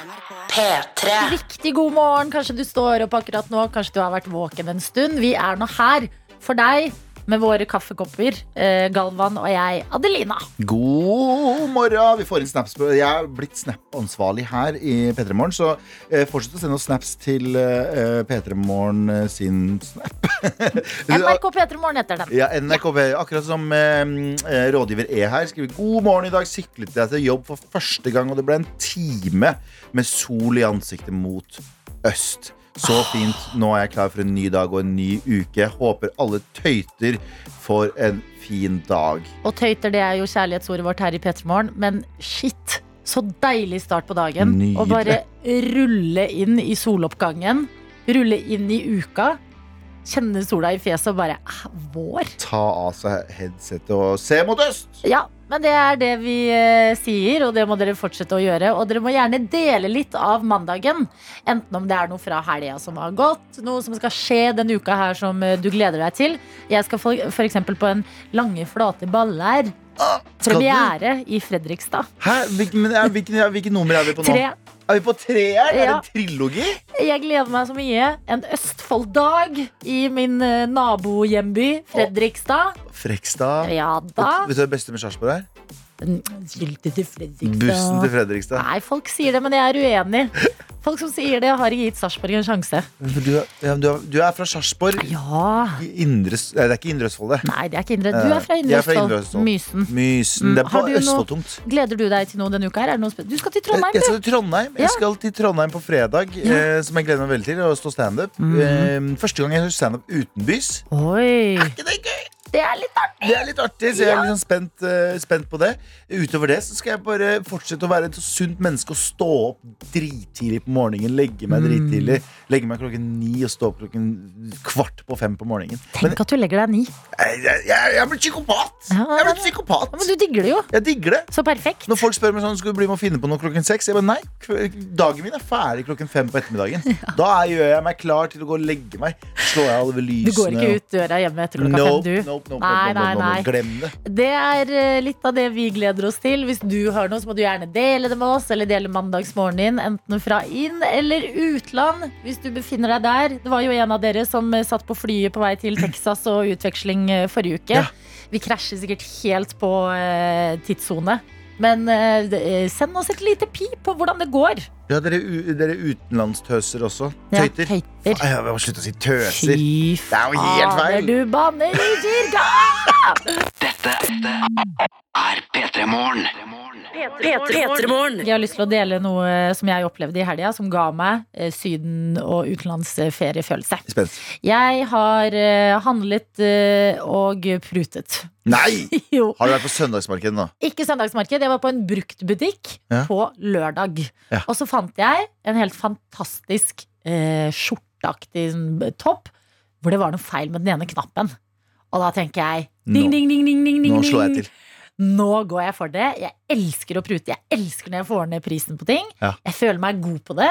P3
Riktig god morgen. Kanskje du står opp akkurat nå. Kanskje du har vært våken en stund. Vi er nå her for deg med våre kaffekopper. Eh, Galvan og jeg, Adelina.
God morgen! Vi får inn snaps. på- Jeg er blitt Snap-ansvarlig her i P3 Morgen, så eh, fortsett å sende oss snaps til eh, P3 Morgen eh, sin snap. (laughs)
NRK P3 Morgen heter den.
Ja, NRKV, akkurat som eh, eh, rådgiver E her, skriver God morgen, i dag syklet jeg til jobb for første gang, og det ble en time med sol i ansiktet mot øst. Så
Ah.
fint. Nå er jeg klar for en ny dag og en ny uke. Håper alle tøyter får en fin dag.
Og tøyter, det er jo kjærlighetsordet vårt her i P3 Morgen. Men shit, så deilig start på dagen.
Nydelig.
Å bare rulle inn i soloppgangen. Rulle inn i uka. Kjenne sola i fjeset og bare ah, Vår!
Ta av seg headsetet og se mot øst!
Ja, men det er det vi eh, sier, og det må dere fortsette å gjøre. Og dere må gjerne dele litt av mandagen. Enten om det er noe fra helga som har gått, noe som skal skje denne uka her som eh, du gleder deg til. Jeg skal for- for eksempel på en Lange flate baller.
Ah, skal du?
Premiere i Fredrikstad.
Hæ? Hvilken, men er- hvilken, hvilken nummer er vi på nå?
Tre.
Er vi på treeren? Er det
Ja.
en trilogi?
Jeg gleder meg så mye. En Østfold-dag i min eh, nabohjemby Fredrikstad.
Frekstad.
Ja da.
Vet du hva det beste med Sarpsborg er?
Skilte til Fredrikstad.
Bussen til Fredrikstad.
Nei, folk sier det, men jeg er uenig. Folk som sier det, har ikke gitt Sarpsborg en sjanse.
Men Du, er- ja, men du, er- du er fra Sarpsborg.
Ja.
i Indre, nei, det er ikke Indre Østfold, det.
Nei, det er ikke indre. Du er fra
Eh,
Indre
jeg er fra
Østfold.
Indre Østfold.
Mysen.
Mysen.
Mm,
Det er
har
på
du noe-
Østfoldtungt.
Gleder du deg til noe denne uka? her? Er det noe spe- du skal til Trondheim,
Jeg
du.
skal til Trondheim Jeg
Ja.
skal til Trondheim på fredag, eh, som jeg gleder meg veldig til. Å stå standup.
Mm.
Eh, første gang jeg gjør standup utenbys.
Oi.
Ikke det gøy?
Det er litt artig.
Det er litt artig, så jeg er litt sånn spent, eh, spent på det. Utover det så skal jeg bare fortsette å være et sunt menneske og stå opp drittidlig på morgenen.
Mm.
Legge meg drittidlig. Legge meg klokken ni og stå opp klokken kvart på fem på morgenen. Men
Tenk at du legger deg ni.
jeg, jeg, jeg er blitt psykopat!
Ja,
Jeg er blitt
Ja, men du
psykopat.
digger det jo.
Jeg digger det.
Så perfekt.
Når folk spør meg sånn, skal du bli med og finne på noe klokken seks, jeg bare nei. kve- Dagen min er ferdig klokken fem på
(laughs)
ettermiddagen. Da er- gjør jeg meg klar til å gå og legge meg. Slår jeg alle lysene.
Du går ikke ut døra hjemme etter klokka
Nope,
fem, du.
nope, nope,
Nei,
nope, nope,
nei,
nope,
nei.
Glem det.
Det er eh, litt av det vi gleder oss til. Hvis du har noe, så må du gjerne dele det med oss, eller dele mandagsmorgenen din, enten fra inn- eller utland, hvis du befinner deg der. Det var jo en av dere som eh, satt på flyet på vei til Texas og utveksling eh, forrige uke.
Ja.
Vi krasjer sikkert helt på eh, tidssone. Men eh, det- eh, send oss et lite pip på hvordan det går.
Ja, dere, u- dere utenlandstøser også.
Ja,
Tøyter.
tøyter.
Nei, Jeg må slutte å si tøser.
Fy
Det er jo helt
fader,
feil.
du banner i kirka!
Dette er P3 Morgen.
P3morgen.
Jeg har lyst til å dele noe eh, som jeg opplevde i helga, som ga meg eh, Syden- og utenlandsferiefølelse.
Spent.
Jeg har eh, handlet eh, og prutet. (laughs)
Nei!
Jo.
Har du vært på søndagsmarkedet nå?
Ikke søndagsmarked, jeg var på en bruktbutikk
Ja.
på lørdag.
Ja.
Og så fant jeg en helt fantastisk eh, skjorteaktig sånn, topp, hvor det var noe feil med den ene knappen. Og da tenker jeg ding,
Nå-
ding, ding, ding, ding, ding,
Nå slår jeg til.
nå går jeg for det. Jeg elsker å prute. Jeg elsker når jeg får ned prisen på ting.
Ja.
Jeg føler meg god på det.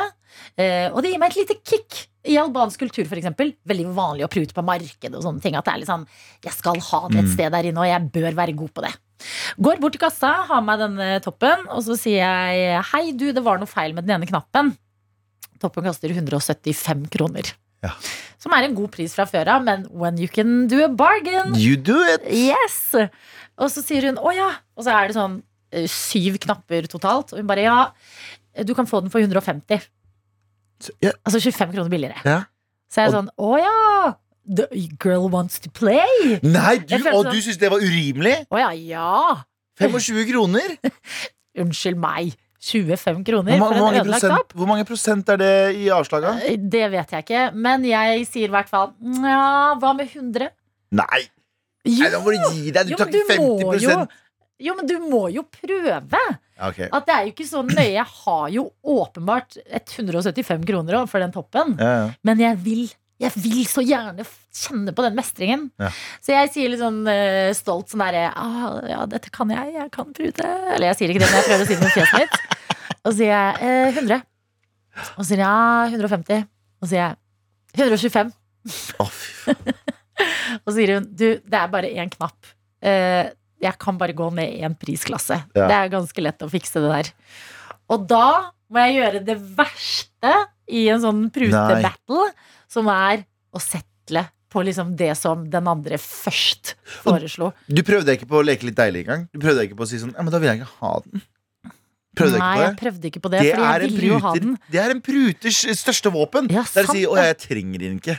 Eh, og det gir meg et lite kick. I albansk kultur, for eksempel, veldig vanlig å prute på markedet og sånne ting. At det er litt sånn Jeg skal ha det et
Mm.
sted der inne, og jeg bør være god på det. Går bort til kassa, har meg denne toppen, og så sier jeg Hei, du, det var noe feil med den ene knappen. Toppen koster 175 kroner.
Ja.
Som er en god pris fra før av, men when you can do a bargain
You do it!
Yes! Og så sier hun å ja. Og så er det sånn eh, syv knapper totalt. Og hun bare ja, du kan få den for 150.
Ja,
Altså 25 kroner billigere.
Ja.
Så jeg er
Og-
sånn å ja. The girl wants to play.
Nei, du,
Jeg følte
og
sånn-
du syns det var urimelig?
Å ja, ja.
25 kroner?
Unnskyld meg. 25
Hvor,
kroner
ma-
for
hvor,
en
mange
ødelagt app?
prosent, hvor mange prosent er det i avslag av?
Det vet jeg ikke, men jeg sier i hvert fall nja, hva med 100?
Nei,
Jo,
nei, da må du gi deg. Du
jo,
tar
men
ikke
må jo
50
Jo, men du må jo prøve.
Ja, ok.
At det er jo ikke så nøye. Jeg har jo åpenbart 175 kroner også for den toppen.
Ja, ja.
Men jeg vil, jeg vil så gjerne f- kjenne på den mestringen.
Ja.
Så jeg sier litt sånn eh, stolt sånn derre ah, Ja, dette kan jeg. Jeg kan prute. Eller jeg sier ikke det, men jeg prøver å si det med fjeset mitt. Og så sier jeg eh, 100. Og så sier jeg ja, 150. Og så sier jeg 125.
Å, fy faen.
(laughs) Og så sier hun du, det er bare én knapp. Eh, jeg kan bare gå ned én prisklasse.
Ja.
Det er ganske lett å fikse det der. Og da må jeg gjøre det verste i en sånn
Nei.
prutebattle, som er å settle på liksom det som den andre først foreslo.
Du prøvde ikke på å leke litt deilig engang? Du prøvde ikke på å si sånn Ja, men da vil jeg ikke ha den. Prøvde
Nei,
ikke
jeg
på det?
prøvde ikke på det, fordi jeg
en
ville jo ha
pruter-
den.
det er en pruters største våpen.
Ja,
det er å
sant
si 'Å,
det.
jeg trenger den ikke'.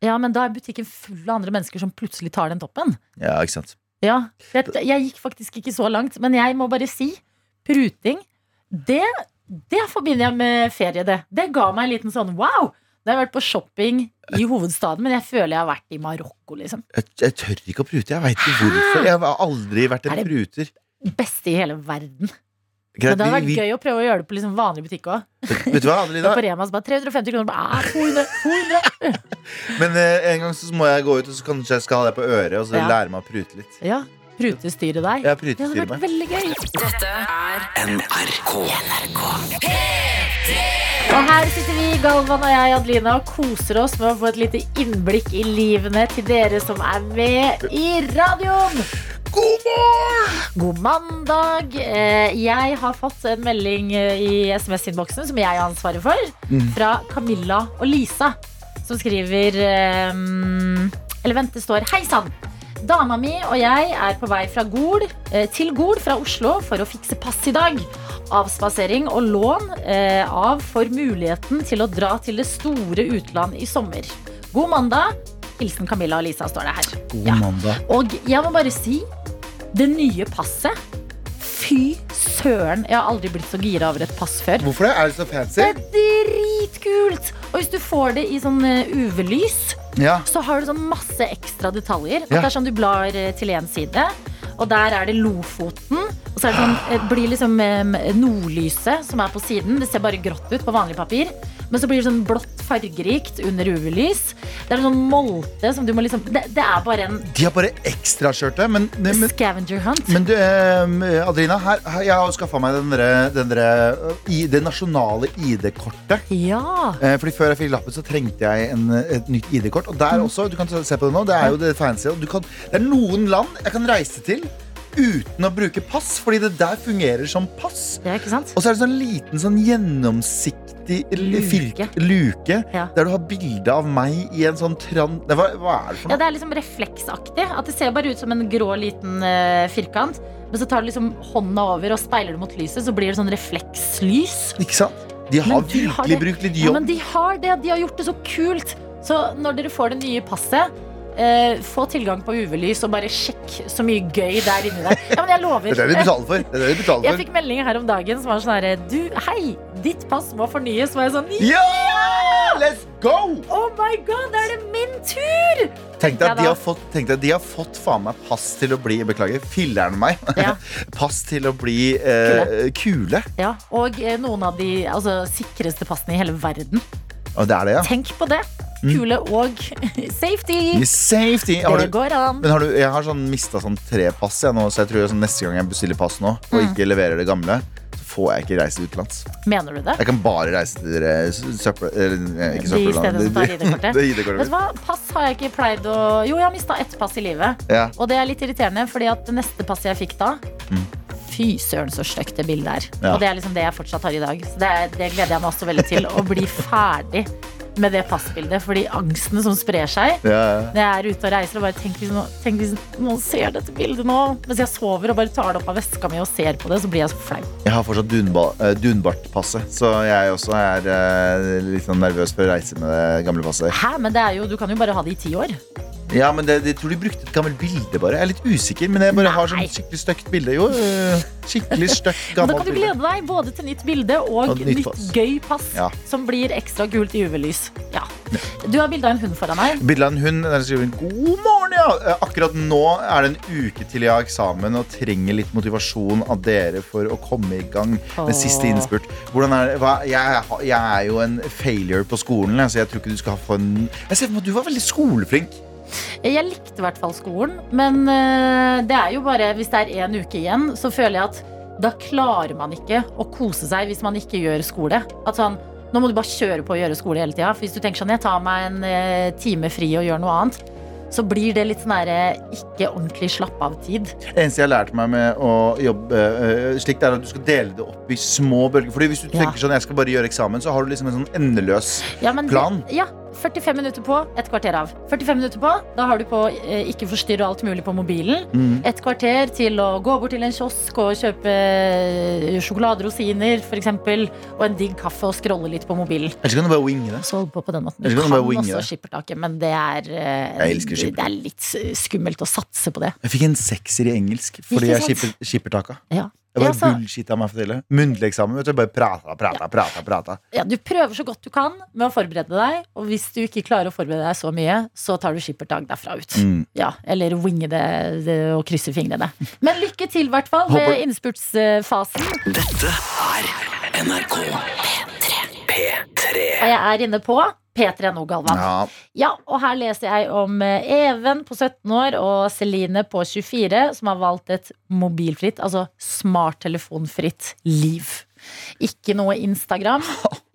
Ja, men da er butikken full av andre mennesker som plutselig tar den toppen.
Ja, ikke sant.
Ja, jeg, jeg gikk faktisk ikke så langt, men jeg må bare si pruting, det, det forbinder jeg med ferie, det. Det ga meg en liten sånn wow! Da har jeg vært på shopping i hovedstaden, men jeg føler jeg har vært i Marokko, liksom.
Jeg, jeg tør ikke å prute. Jeg veit ikke hvorfor. Jeg har aldri vært en
Er det-
pruter.
Beste i hele verden.
Greit,
Men det hadde
vi-
vært
vi-
gøy å prøve å gjøre det på liksom vanlig butikk òg.
Vet du hva,
(laughs)
Adelina?
På Rema så bare 350 kroner, bare ah, 200, 200.
Men eh, en gang så må jeg gå ut, og så kanskje jeg skal ha deg på øret, og så
Ja.
lære meg å prute litt.
Ja, Prutestyre deg.
Jeg
Det hadde
prutestyrer
vært
meg.
veldig gøy.
NRK. NRK.
Og her sitter vi, Galvan og jeg, Adelina, og koser oss med å få et lite innblikk i livene til dere som er med i radioen. God mandag. Eh, Jeg har fått en melding eh, i SMS-innboksen som jeg har ansvaret for, fra Camilla og Lisa, som skriver eh, Eller vent, det står Hei sann! Dama mi og jeg er på vei fra Gol, eh, til Gol fra Oslo for å fikse pass i dag. Avspasering og lån eh, av for muligheten til å dra til det store utland i sommer. God mandag. Hilsen Camilla og Lisa, står det her.
God
Ja.
mandag.
Og jeg må bare si Det nye passet Fy søren Jeg har aldri blitt så gira over et pass før
Hvorfor det? Er det så fancy?
Det er dritkult Og hvis du får det i sånn eh, UV-lys
Ja.
Så har du sånn masse ekstra detaljer At
Ja.
det er sånn du blar eh, til en side Og der er det Lofoten Og så er det sånn, eh, blir liksom eh, Nordlyset som er på siden Det ser bare grått ut på vanlig papir men så blir det sånn blått fargerikt under UV-lys Det er en sånn molte som du må liksom Det, det er bare en
De har bare ekstraskjørte, men, men
scavenger hunt
Men du, eh, Adrina, her, her, jeg har skaffa meg den derre- den derre, eh, i- det nasjonale ID-kortet.
Ja.
Eh, Fordi Før jeg fikk lappen, så trengte jeg en, et nytt ID-kort. Og der også, du kan se på det nå, det er jo det fancy. og Du kan, det er noen land jeg kan reise til uten å bruke pass, fordi det der fungerer som pass.
Ja, ikke sant?
Og så er det sånn liten, sånn gjennomsiktig l-
Luke.
firk- luke
Ja.
der du har bilde av meg i en sånn tran... Nei, Hva, hva er det for
Ja,
noe?
det er liksom refleksaktig. At det ser bare ut som en grå liten eh, firkant. Men så tar du liksom hånda over og speiler det mot lyset, så blir det sånn reflekslys.
Ikke sant? De har
Men du
virkelig
har det-
brukt litt
Ja,
jobb.
men de har det. De har gjort det så kult. Så når dere får det nye passet, eh, få tilgang på UV-lys og bare sjekk så mye gøy der inni der. Ja, men jeg
(laughs) Det
lover.
er det de betaler for. Det er det de betaler
Jeg
for.
fikk melding her om dagen som var sånn herre Du, hei, ditt pass må fornyes. Var jeg sånn
Ja! Let's go!
Oh my god, da er det min tur!
Tenk deg at
Ja,
de
da.
har fått, tenk deg at de har fått faen meg pass til å bli Beklager, filler'n meg.
Ja.
(laughs) Pass til å bli eh, kule.
Ja, og eh, noen av de altså, sikreste passene i hele verden.
Og det er det, ja.
Tenk på det. Kule og (laughs) safety.
Safety. Har
Det
du,
går an.
men har du, jeg har sånn mista sånn tre pass, jeg nå, så jeg tror sånn, neste gang jeg bestiller pass nå, og
Mm.
ikke leverer det gamle, så får jeg ikke reise utenlands.
Mener du det?
Jeg kan bare reise til eh, søppel... Eller, eh,
De
ikke søppellandet.
stedene som tar ID-kortet.
(laughs) Det ID-kortet
Vet du
mitt.
hva? Pass har jeg ikke pleid å Jo, jeg har mista ett pass i livet.
Ja.
Og det er litt irriterende, fordi at det neste passet jeg fikk da Fy søren, så stygt det bildet er.
Mm. Ja.
Og det er liksom det jeg fortsatt har i dag. Så det, er- det gleder jeg meg også veldig til. Å bli ferdig med det passbildet. Fordi angsten som sprer seg
Ja, ja.
når jeg er ute og reiser og bare liksom, tenk hvis, noen, tenk hvis noen ser dette bildet nå Mens jeg sover og bare tar det opp av veska mi og ser på det, så blir jeg så flau.
Jeg har fortsatt dunba, eh, dunbartpasset, så jeg også er eh, litt sånn nervøs for å reise med det gamle passet.
Hæ, men det er jo, du kan jo bare ha det i ti år.
Ja, men det, jeg tror de brukte et gammelt bilde bare. Jeg er litt usikker, men jeg bare har sånn
Nei.
skikkelig støkt bilde. Jo, øh,
(laughs)
skikkelig støkt
Men da
gammelt
kan du
bilde.
glede deg både til nytt bilde og,
Og nytt
nytt
pass.
gøy pass.
Ja.
Som blir ekstra gult i UV-lys. Ja. Du har bilde av en hund foran deg.
Bilde av en hund. Der skriver hun 'God morgen', ja. Eh, Akkurat nå er det en uke til jeg har eksamen og trenger litt motivasjon av dere for å komme i gang med siste
Åh.
innspurt. Hvordan er det? Hva? Jeg, har- jeg er jo en failure på skolen, jeg, så jeg tror ikke du skal få en Jeg ser for meg at du var veldig skoleflink.
Jeg likte i hvert fall skolen, men eh, det er jo bare hvis det er én uke igjen, så føler jeg at da klarer man ikke å kose seg hvis man ikke gjør skole. At sånn, nå må du bare kjøre på å gjøre skole hele tida. For hvis du tenker sånn, jeg tar meg en eh, time fri og gjør noe annet, så blir det litt sånn derre ikke ordentlig slapp av-tid.
Det eneste jeg har lært meg med å jobbe øh, slikt, er at du skal dele det opp i små bølger. Fordi hvis du
Ja.
tenker sånn, jeg skal bare gjøre eksamen, så har du liksom en sånn endeløs
Ja, men det-
Plan?
Ja, 45 minutter på, et kvarter av. 45 minutter på, da har du på eh, ikke forstyrre og alt mulig på mobilen. Et kvarter til å gå bort til en kiosk og kjøpe eh, sjokoladerosiner, for eksempel. Og en digg kaffe og scrolle litt på mobilen.
Ellers kan du bare winge det.
Så holde på på den måten.
Jeg
Du
kan
kan
bare winge
også
det.
skippertaket, men det er, eh,
Jeg elsker skipper.
det er litt eh, skummelt å satse på det.
Jeg fikk en sekser i engelsk fordi jeg
Ikke sant?
skipper- skipper taka.
Ja.
Jeg
Ja,
var
så-
bullshit av meg for det. Muntlig eksamen. vet du, Jeg bare prata, prata, prata. prata.
ja, du prøver så godt du kan med å forberede deg, og hvis du ikke klarer å forberede deg så mye, så tar du skippertak derfra ut.
Mm.
Ja, eller winge det, det og krysse fingrene. Men lykke til, i hvert fall, med
Håper-
innspurtsfasen.
Dette er NRK P3.
Og jeg er inne på P3 nå, Galvan.
Ja.
Ja, og her leser jeg om eh, Even på 17 år og Celine på 24 som har valgt et mobilfritt, altså smarttelefonfritt liv. Ikke noe Instagram,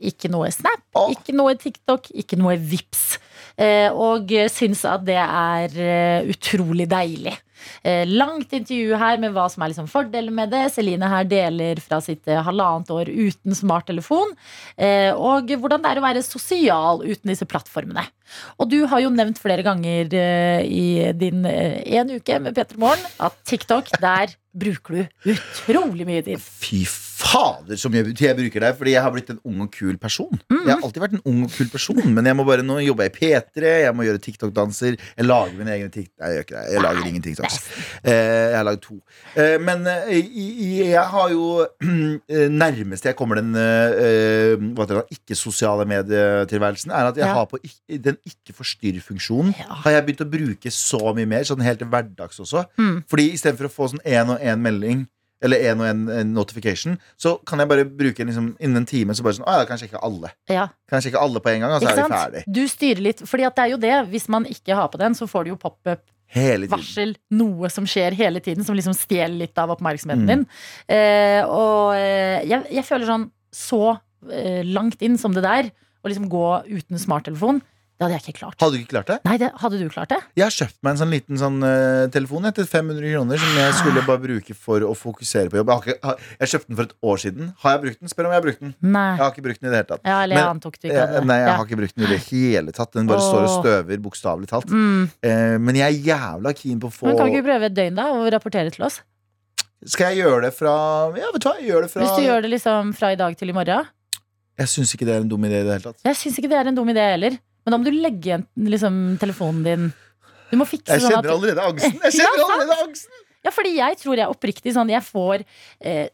ikke noe Snap, ikke noe TikTok, ikke noe Vips. Eh, Og eh, syns at det er eh, utrolig deilig. eh, langt intervju her med hva som er liksom fordelen med det. Celine her deler fra sitt eh, halvannet år uten smarttelefon. eh, Og hvordan det er å være sosial uten disse plattformene. Og du har jo nevnt flere ganger eh, i din eh, en uke med Petter Morgen at TikTok, der bruker du utrolig mye tid.
Fy fader som jeg, jeg bruker deg, fordi jeg har blitt en ung og kul person. Jeg har alltid vært en ung og kul person, men jeg må bare nå jobbe i P3, jeg må gjøre TikTok-danser. Jeg lager mine egne TikTok Nei, jeg gjør ikke det. Jeg lager ingen TikToks. Eh, Jeg har lagd to. Eh, Men eh, i- i- jeg har jo (clears throat) eh, Nærmeste jeg kommer den eh, eh, hva heter det, ikke-sosiale medietilværelsen, er at jeg
Ja.
har på ikk- den ikke-forstyrr-funksjonen har jeg begynt å bruke så mye mer, sånn helt til hverdags også.
Mm.
Fordi istedenfor å få sånn én og én melding eller en og en, en notification, så kan jeg bare bruke liksom, innen en time så bare sånn, «Å ja, kan jeg sjekke alle.
Ja,
Kan jeg sjekke alle på en gang, og så
ikke
Altså, er vi
sant?
ferdig.
Du styrer litt, fordi at det er jo det. Hvis man ikke har på den, så får du jo pop-up-varsel.
Hele tiden.
Noe som skjer hele tiden, som liksom stjeler litt av oppmerksomheten
Mm.
din. Eh, og eh, jeg, jeg føler sånn så eh, langt inn som det der, å liksom gå uten smarttelefon, det hadde jeg ikke klart.
Hadde du ikke klart det?
Nei, det, hadde du klart det?
Jeg har kjøpt meg en sånn liten sånn, eh, telefon jeg, til 500 kroner som jeg skulle bare bruke for å fokusere på jobb. Jeg, har ikke, har- jeg kjøpte den for et år siden. Har jeg brukt den? Spør om jeg har brukt den.
Nei.
Jeg har ikke brukt den i det hele tatt.
Ja, eller jeg
Men-
antok du ikke hadde
Eh,
det.
Nei, jeg
Ja.
har ikke brukt den i det hele tatt. Den bare står og
Åh.
støver, bokstavelig talt.
Mm.
Eh, Men jeg er jævla keen på å få
Men kan ikke du prøve et døgn da og rapportere til oss?
Skal jeg gjøre det fra Ja, vet du hva, jeg gjør det fra
Hvis du gjør det liksom fra i dag til i morgen?
Jeg syns ikke det er en dum idé i det hele tatt.
Jeg syns ikke det er en dum idé heller. Men da må du legge igjen liksom, telefonen din. Du må fikse
Jeg
sånn at
kjenner allerede angsten!
(laughs)
Jeg kjenner allerede angsten
Ja, fordi jeg tror jeg oppriktig sånn Jeg får eh,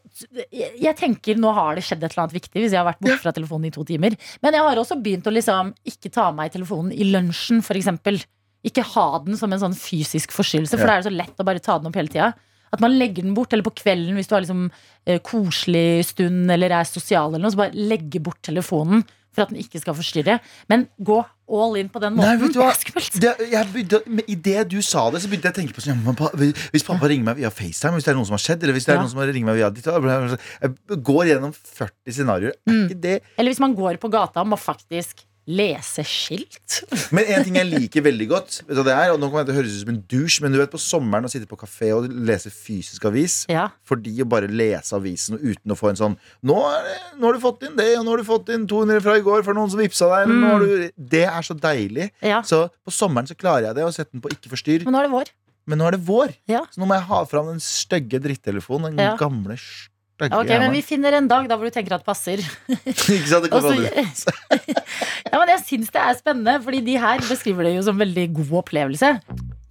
jeg, jeg tenker nå har det skjedd et eller annet viktig hvis jeg har vært borte fra telefonen i to timer. Men jeg har også begynt å liksom ikke ta meg telefonen i lunsjen, for eksempel. Ikke ha den som en sånn fysisk forstyrrelse, for
Ja.
da er det så lett å bare ta den opp hele tida. At man legger den bort, eller på kvelden hvis du har liksom eh, koselig stund eller er sosial eller noe, så bare legge bort telefonen for at den ikke skal forstyrre. Men gå all in på den
Nei,
måten.
vet
(laughs)
du hva?
Det er skummelt.
Det, jeg begynte, men I det du sa det, så begynte jeg å tenke på sånn, ja, men pa- Hvis pappa ringer meg via FaceTime, hvis det er noe som har skjedd, eller hvis det er
Ja.
noen som ringer meg via ditt og datt, Jeg går gjennom 40 scenarioer.
Mm.
Er ikke det
Eller hvis man går på gata og må faktisk lese skilt.
Men en ting jeg liker veldig godt, vet du hva det er, og nå kommer jeg til å høres ut som en douche, men du vet på sommeren å sitte på kafé og lese fysisk avis
Ja.
Fordi å bare lese avisen og uten å få en sånn nå, er det, 'Nå har du fått inn det, og nå har du fått inn 200 fra i går for noen som vippsa deg.' Eller,
Mm.
nå har du, det er så deilig.
Ja.
Så på sommeren så klarer jeg det, og setter den på ikke forstyrr.
Men nå er det vår.
Men nå er det vår,
Ja.
så nå må jeg ha fram den stygge drittelefonen. Den
Ja.
gamle stygge
Ok, men vi finner en dag da hvor du tenker at det passer.
(laughs) Ikke sant? Det
Og så-
kommer aldri.
(laughs) ja, men jeg syns det er spennende, Fordi de her beskriver det jo som veldig god opplevelse.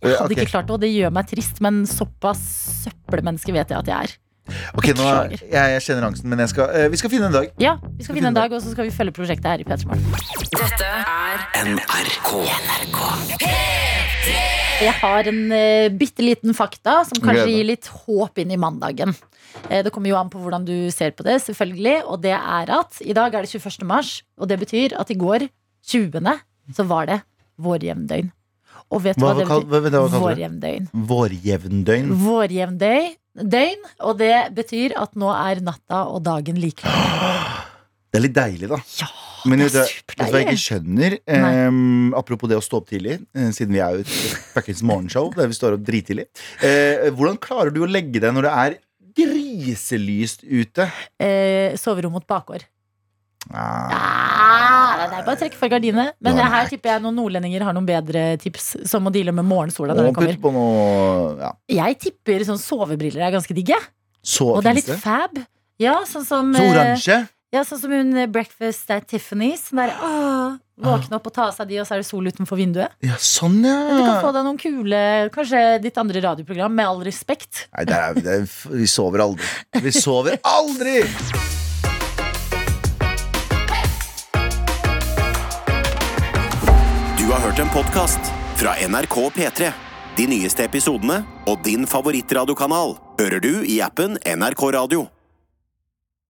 Jeg
Ja,
hadde
ok.
ikke klart det, og det gjør meg trist, men såpass søppelmenneske vet jeg at jeg er.
Ok, nå, jeg, jeg kjenner angsten, men jeg skal, eh, vi skal finne en dag.
Ja, Vi skal finne en dag, og så skal vi følge prosjektet her i Petermorgen.
NRK.
Jeg har en uh, bitte liten fakta som
Gleder
kanskje
meg.
gir litt håp inn i mandagen. Eh, det kommer jo an på hvordan du ser på det, selvfølgelig. Og det er at i dag er det 21. mars, og det betyr at i går, 20., så var det vårjevndøgn. Og vet du
Hva,
hva,
hva,
det
kall-
betyr?
hva, vent da, hva kalte du det?
Vårjevndøgn.
Vårjevndøgn.
Vårjevndøgn. Døgn, og det betyr at nå er natta og dagen like lang.
Det er litt deilig, da.
Ja,
Men
det
vet
er
du vet du hva jeg ikke skjønner? Ehm, apropos det å stå opp tidlig, eh, siden vi er jo et fuckings morgenshow der vi står opp drittidlig. Eh, hvordan klarer du å legge deg når det er griselyst ute?
Eh, soverom mot bakgård.
Ah,
Ah, det er bare å trekke for gardinene. Men
Nei.
her tipper jeg noen nordlendinger har noen bedre tips som å deale med morgensola når
og
den kommer.
putt på noe ja.
Jeg tipper sånn sovebriller er ganske digge.
Så
Og det er
fins
litt
det.
fab. Ja, sånn som
Så
eh,
oransje.
Ja, sånn som hun eh, Breakfast at Tiffany's. Som der, ah, våkne opp og ta av seg de, og så er det sol utenfor vinduet.
Ja, sånn,
Du kan få
ja.
deg noen kule Kanskje ditt andre radioprogram, med all respekt.
Nei, det er, det er, vi sover aldri. Vi sover aldri!
Du har hørt en podkast fra NRK P3. De nyeste episodene og din favorittradiokanal hører du i appen NRK Radio.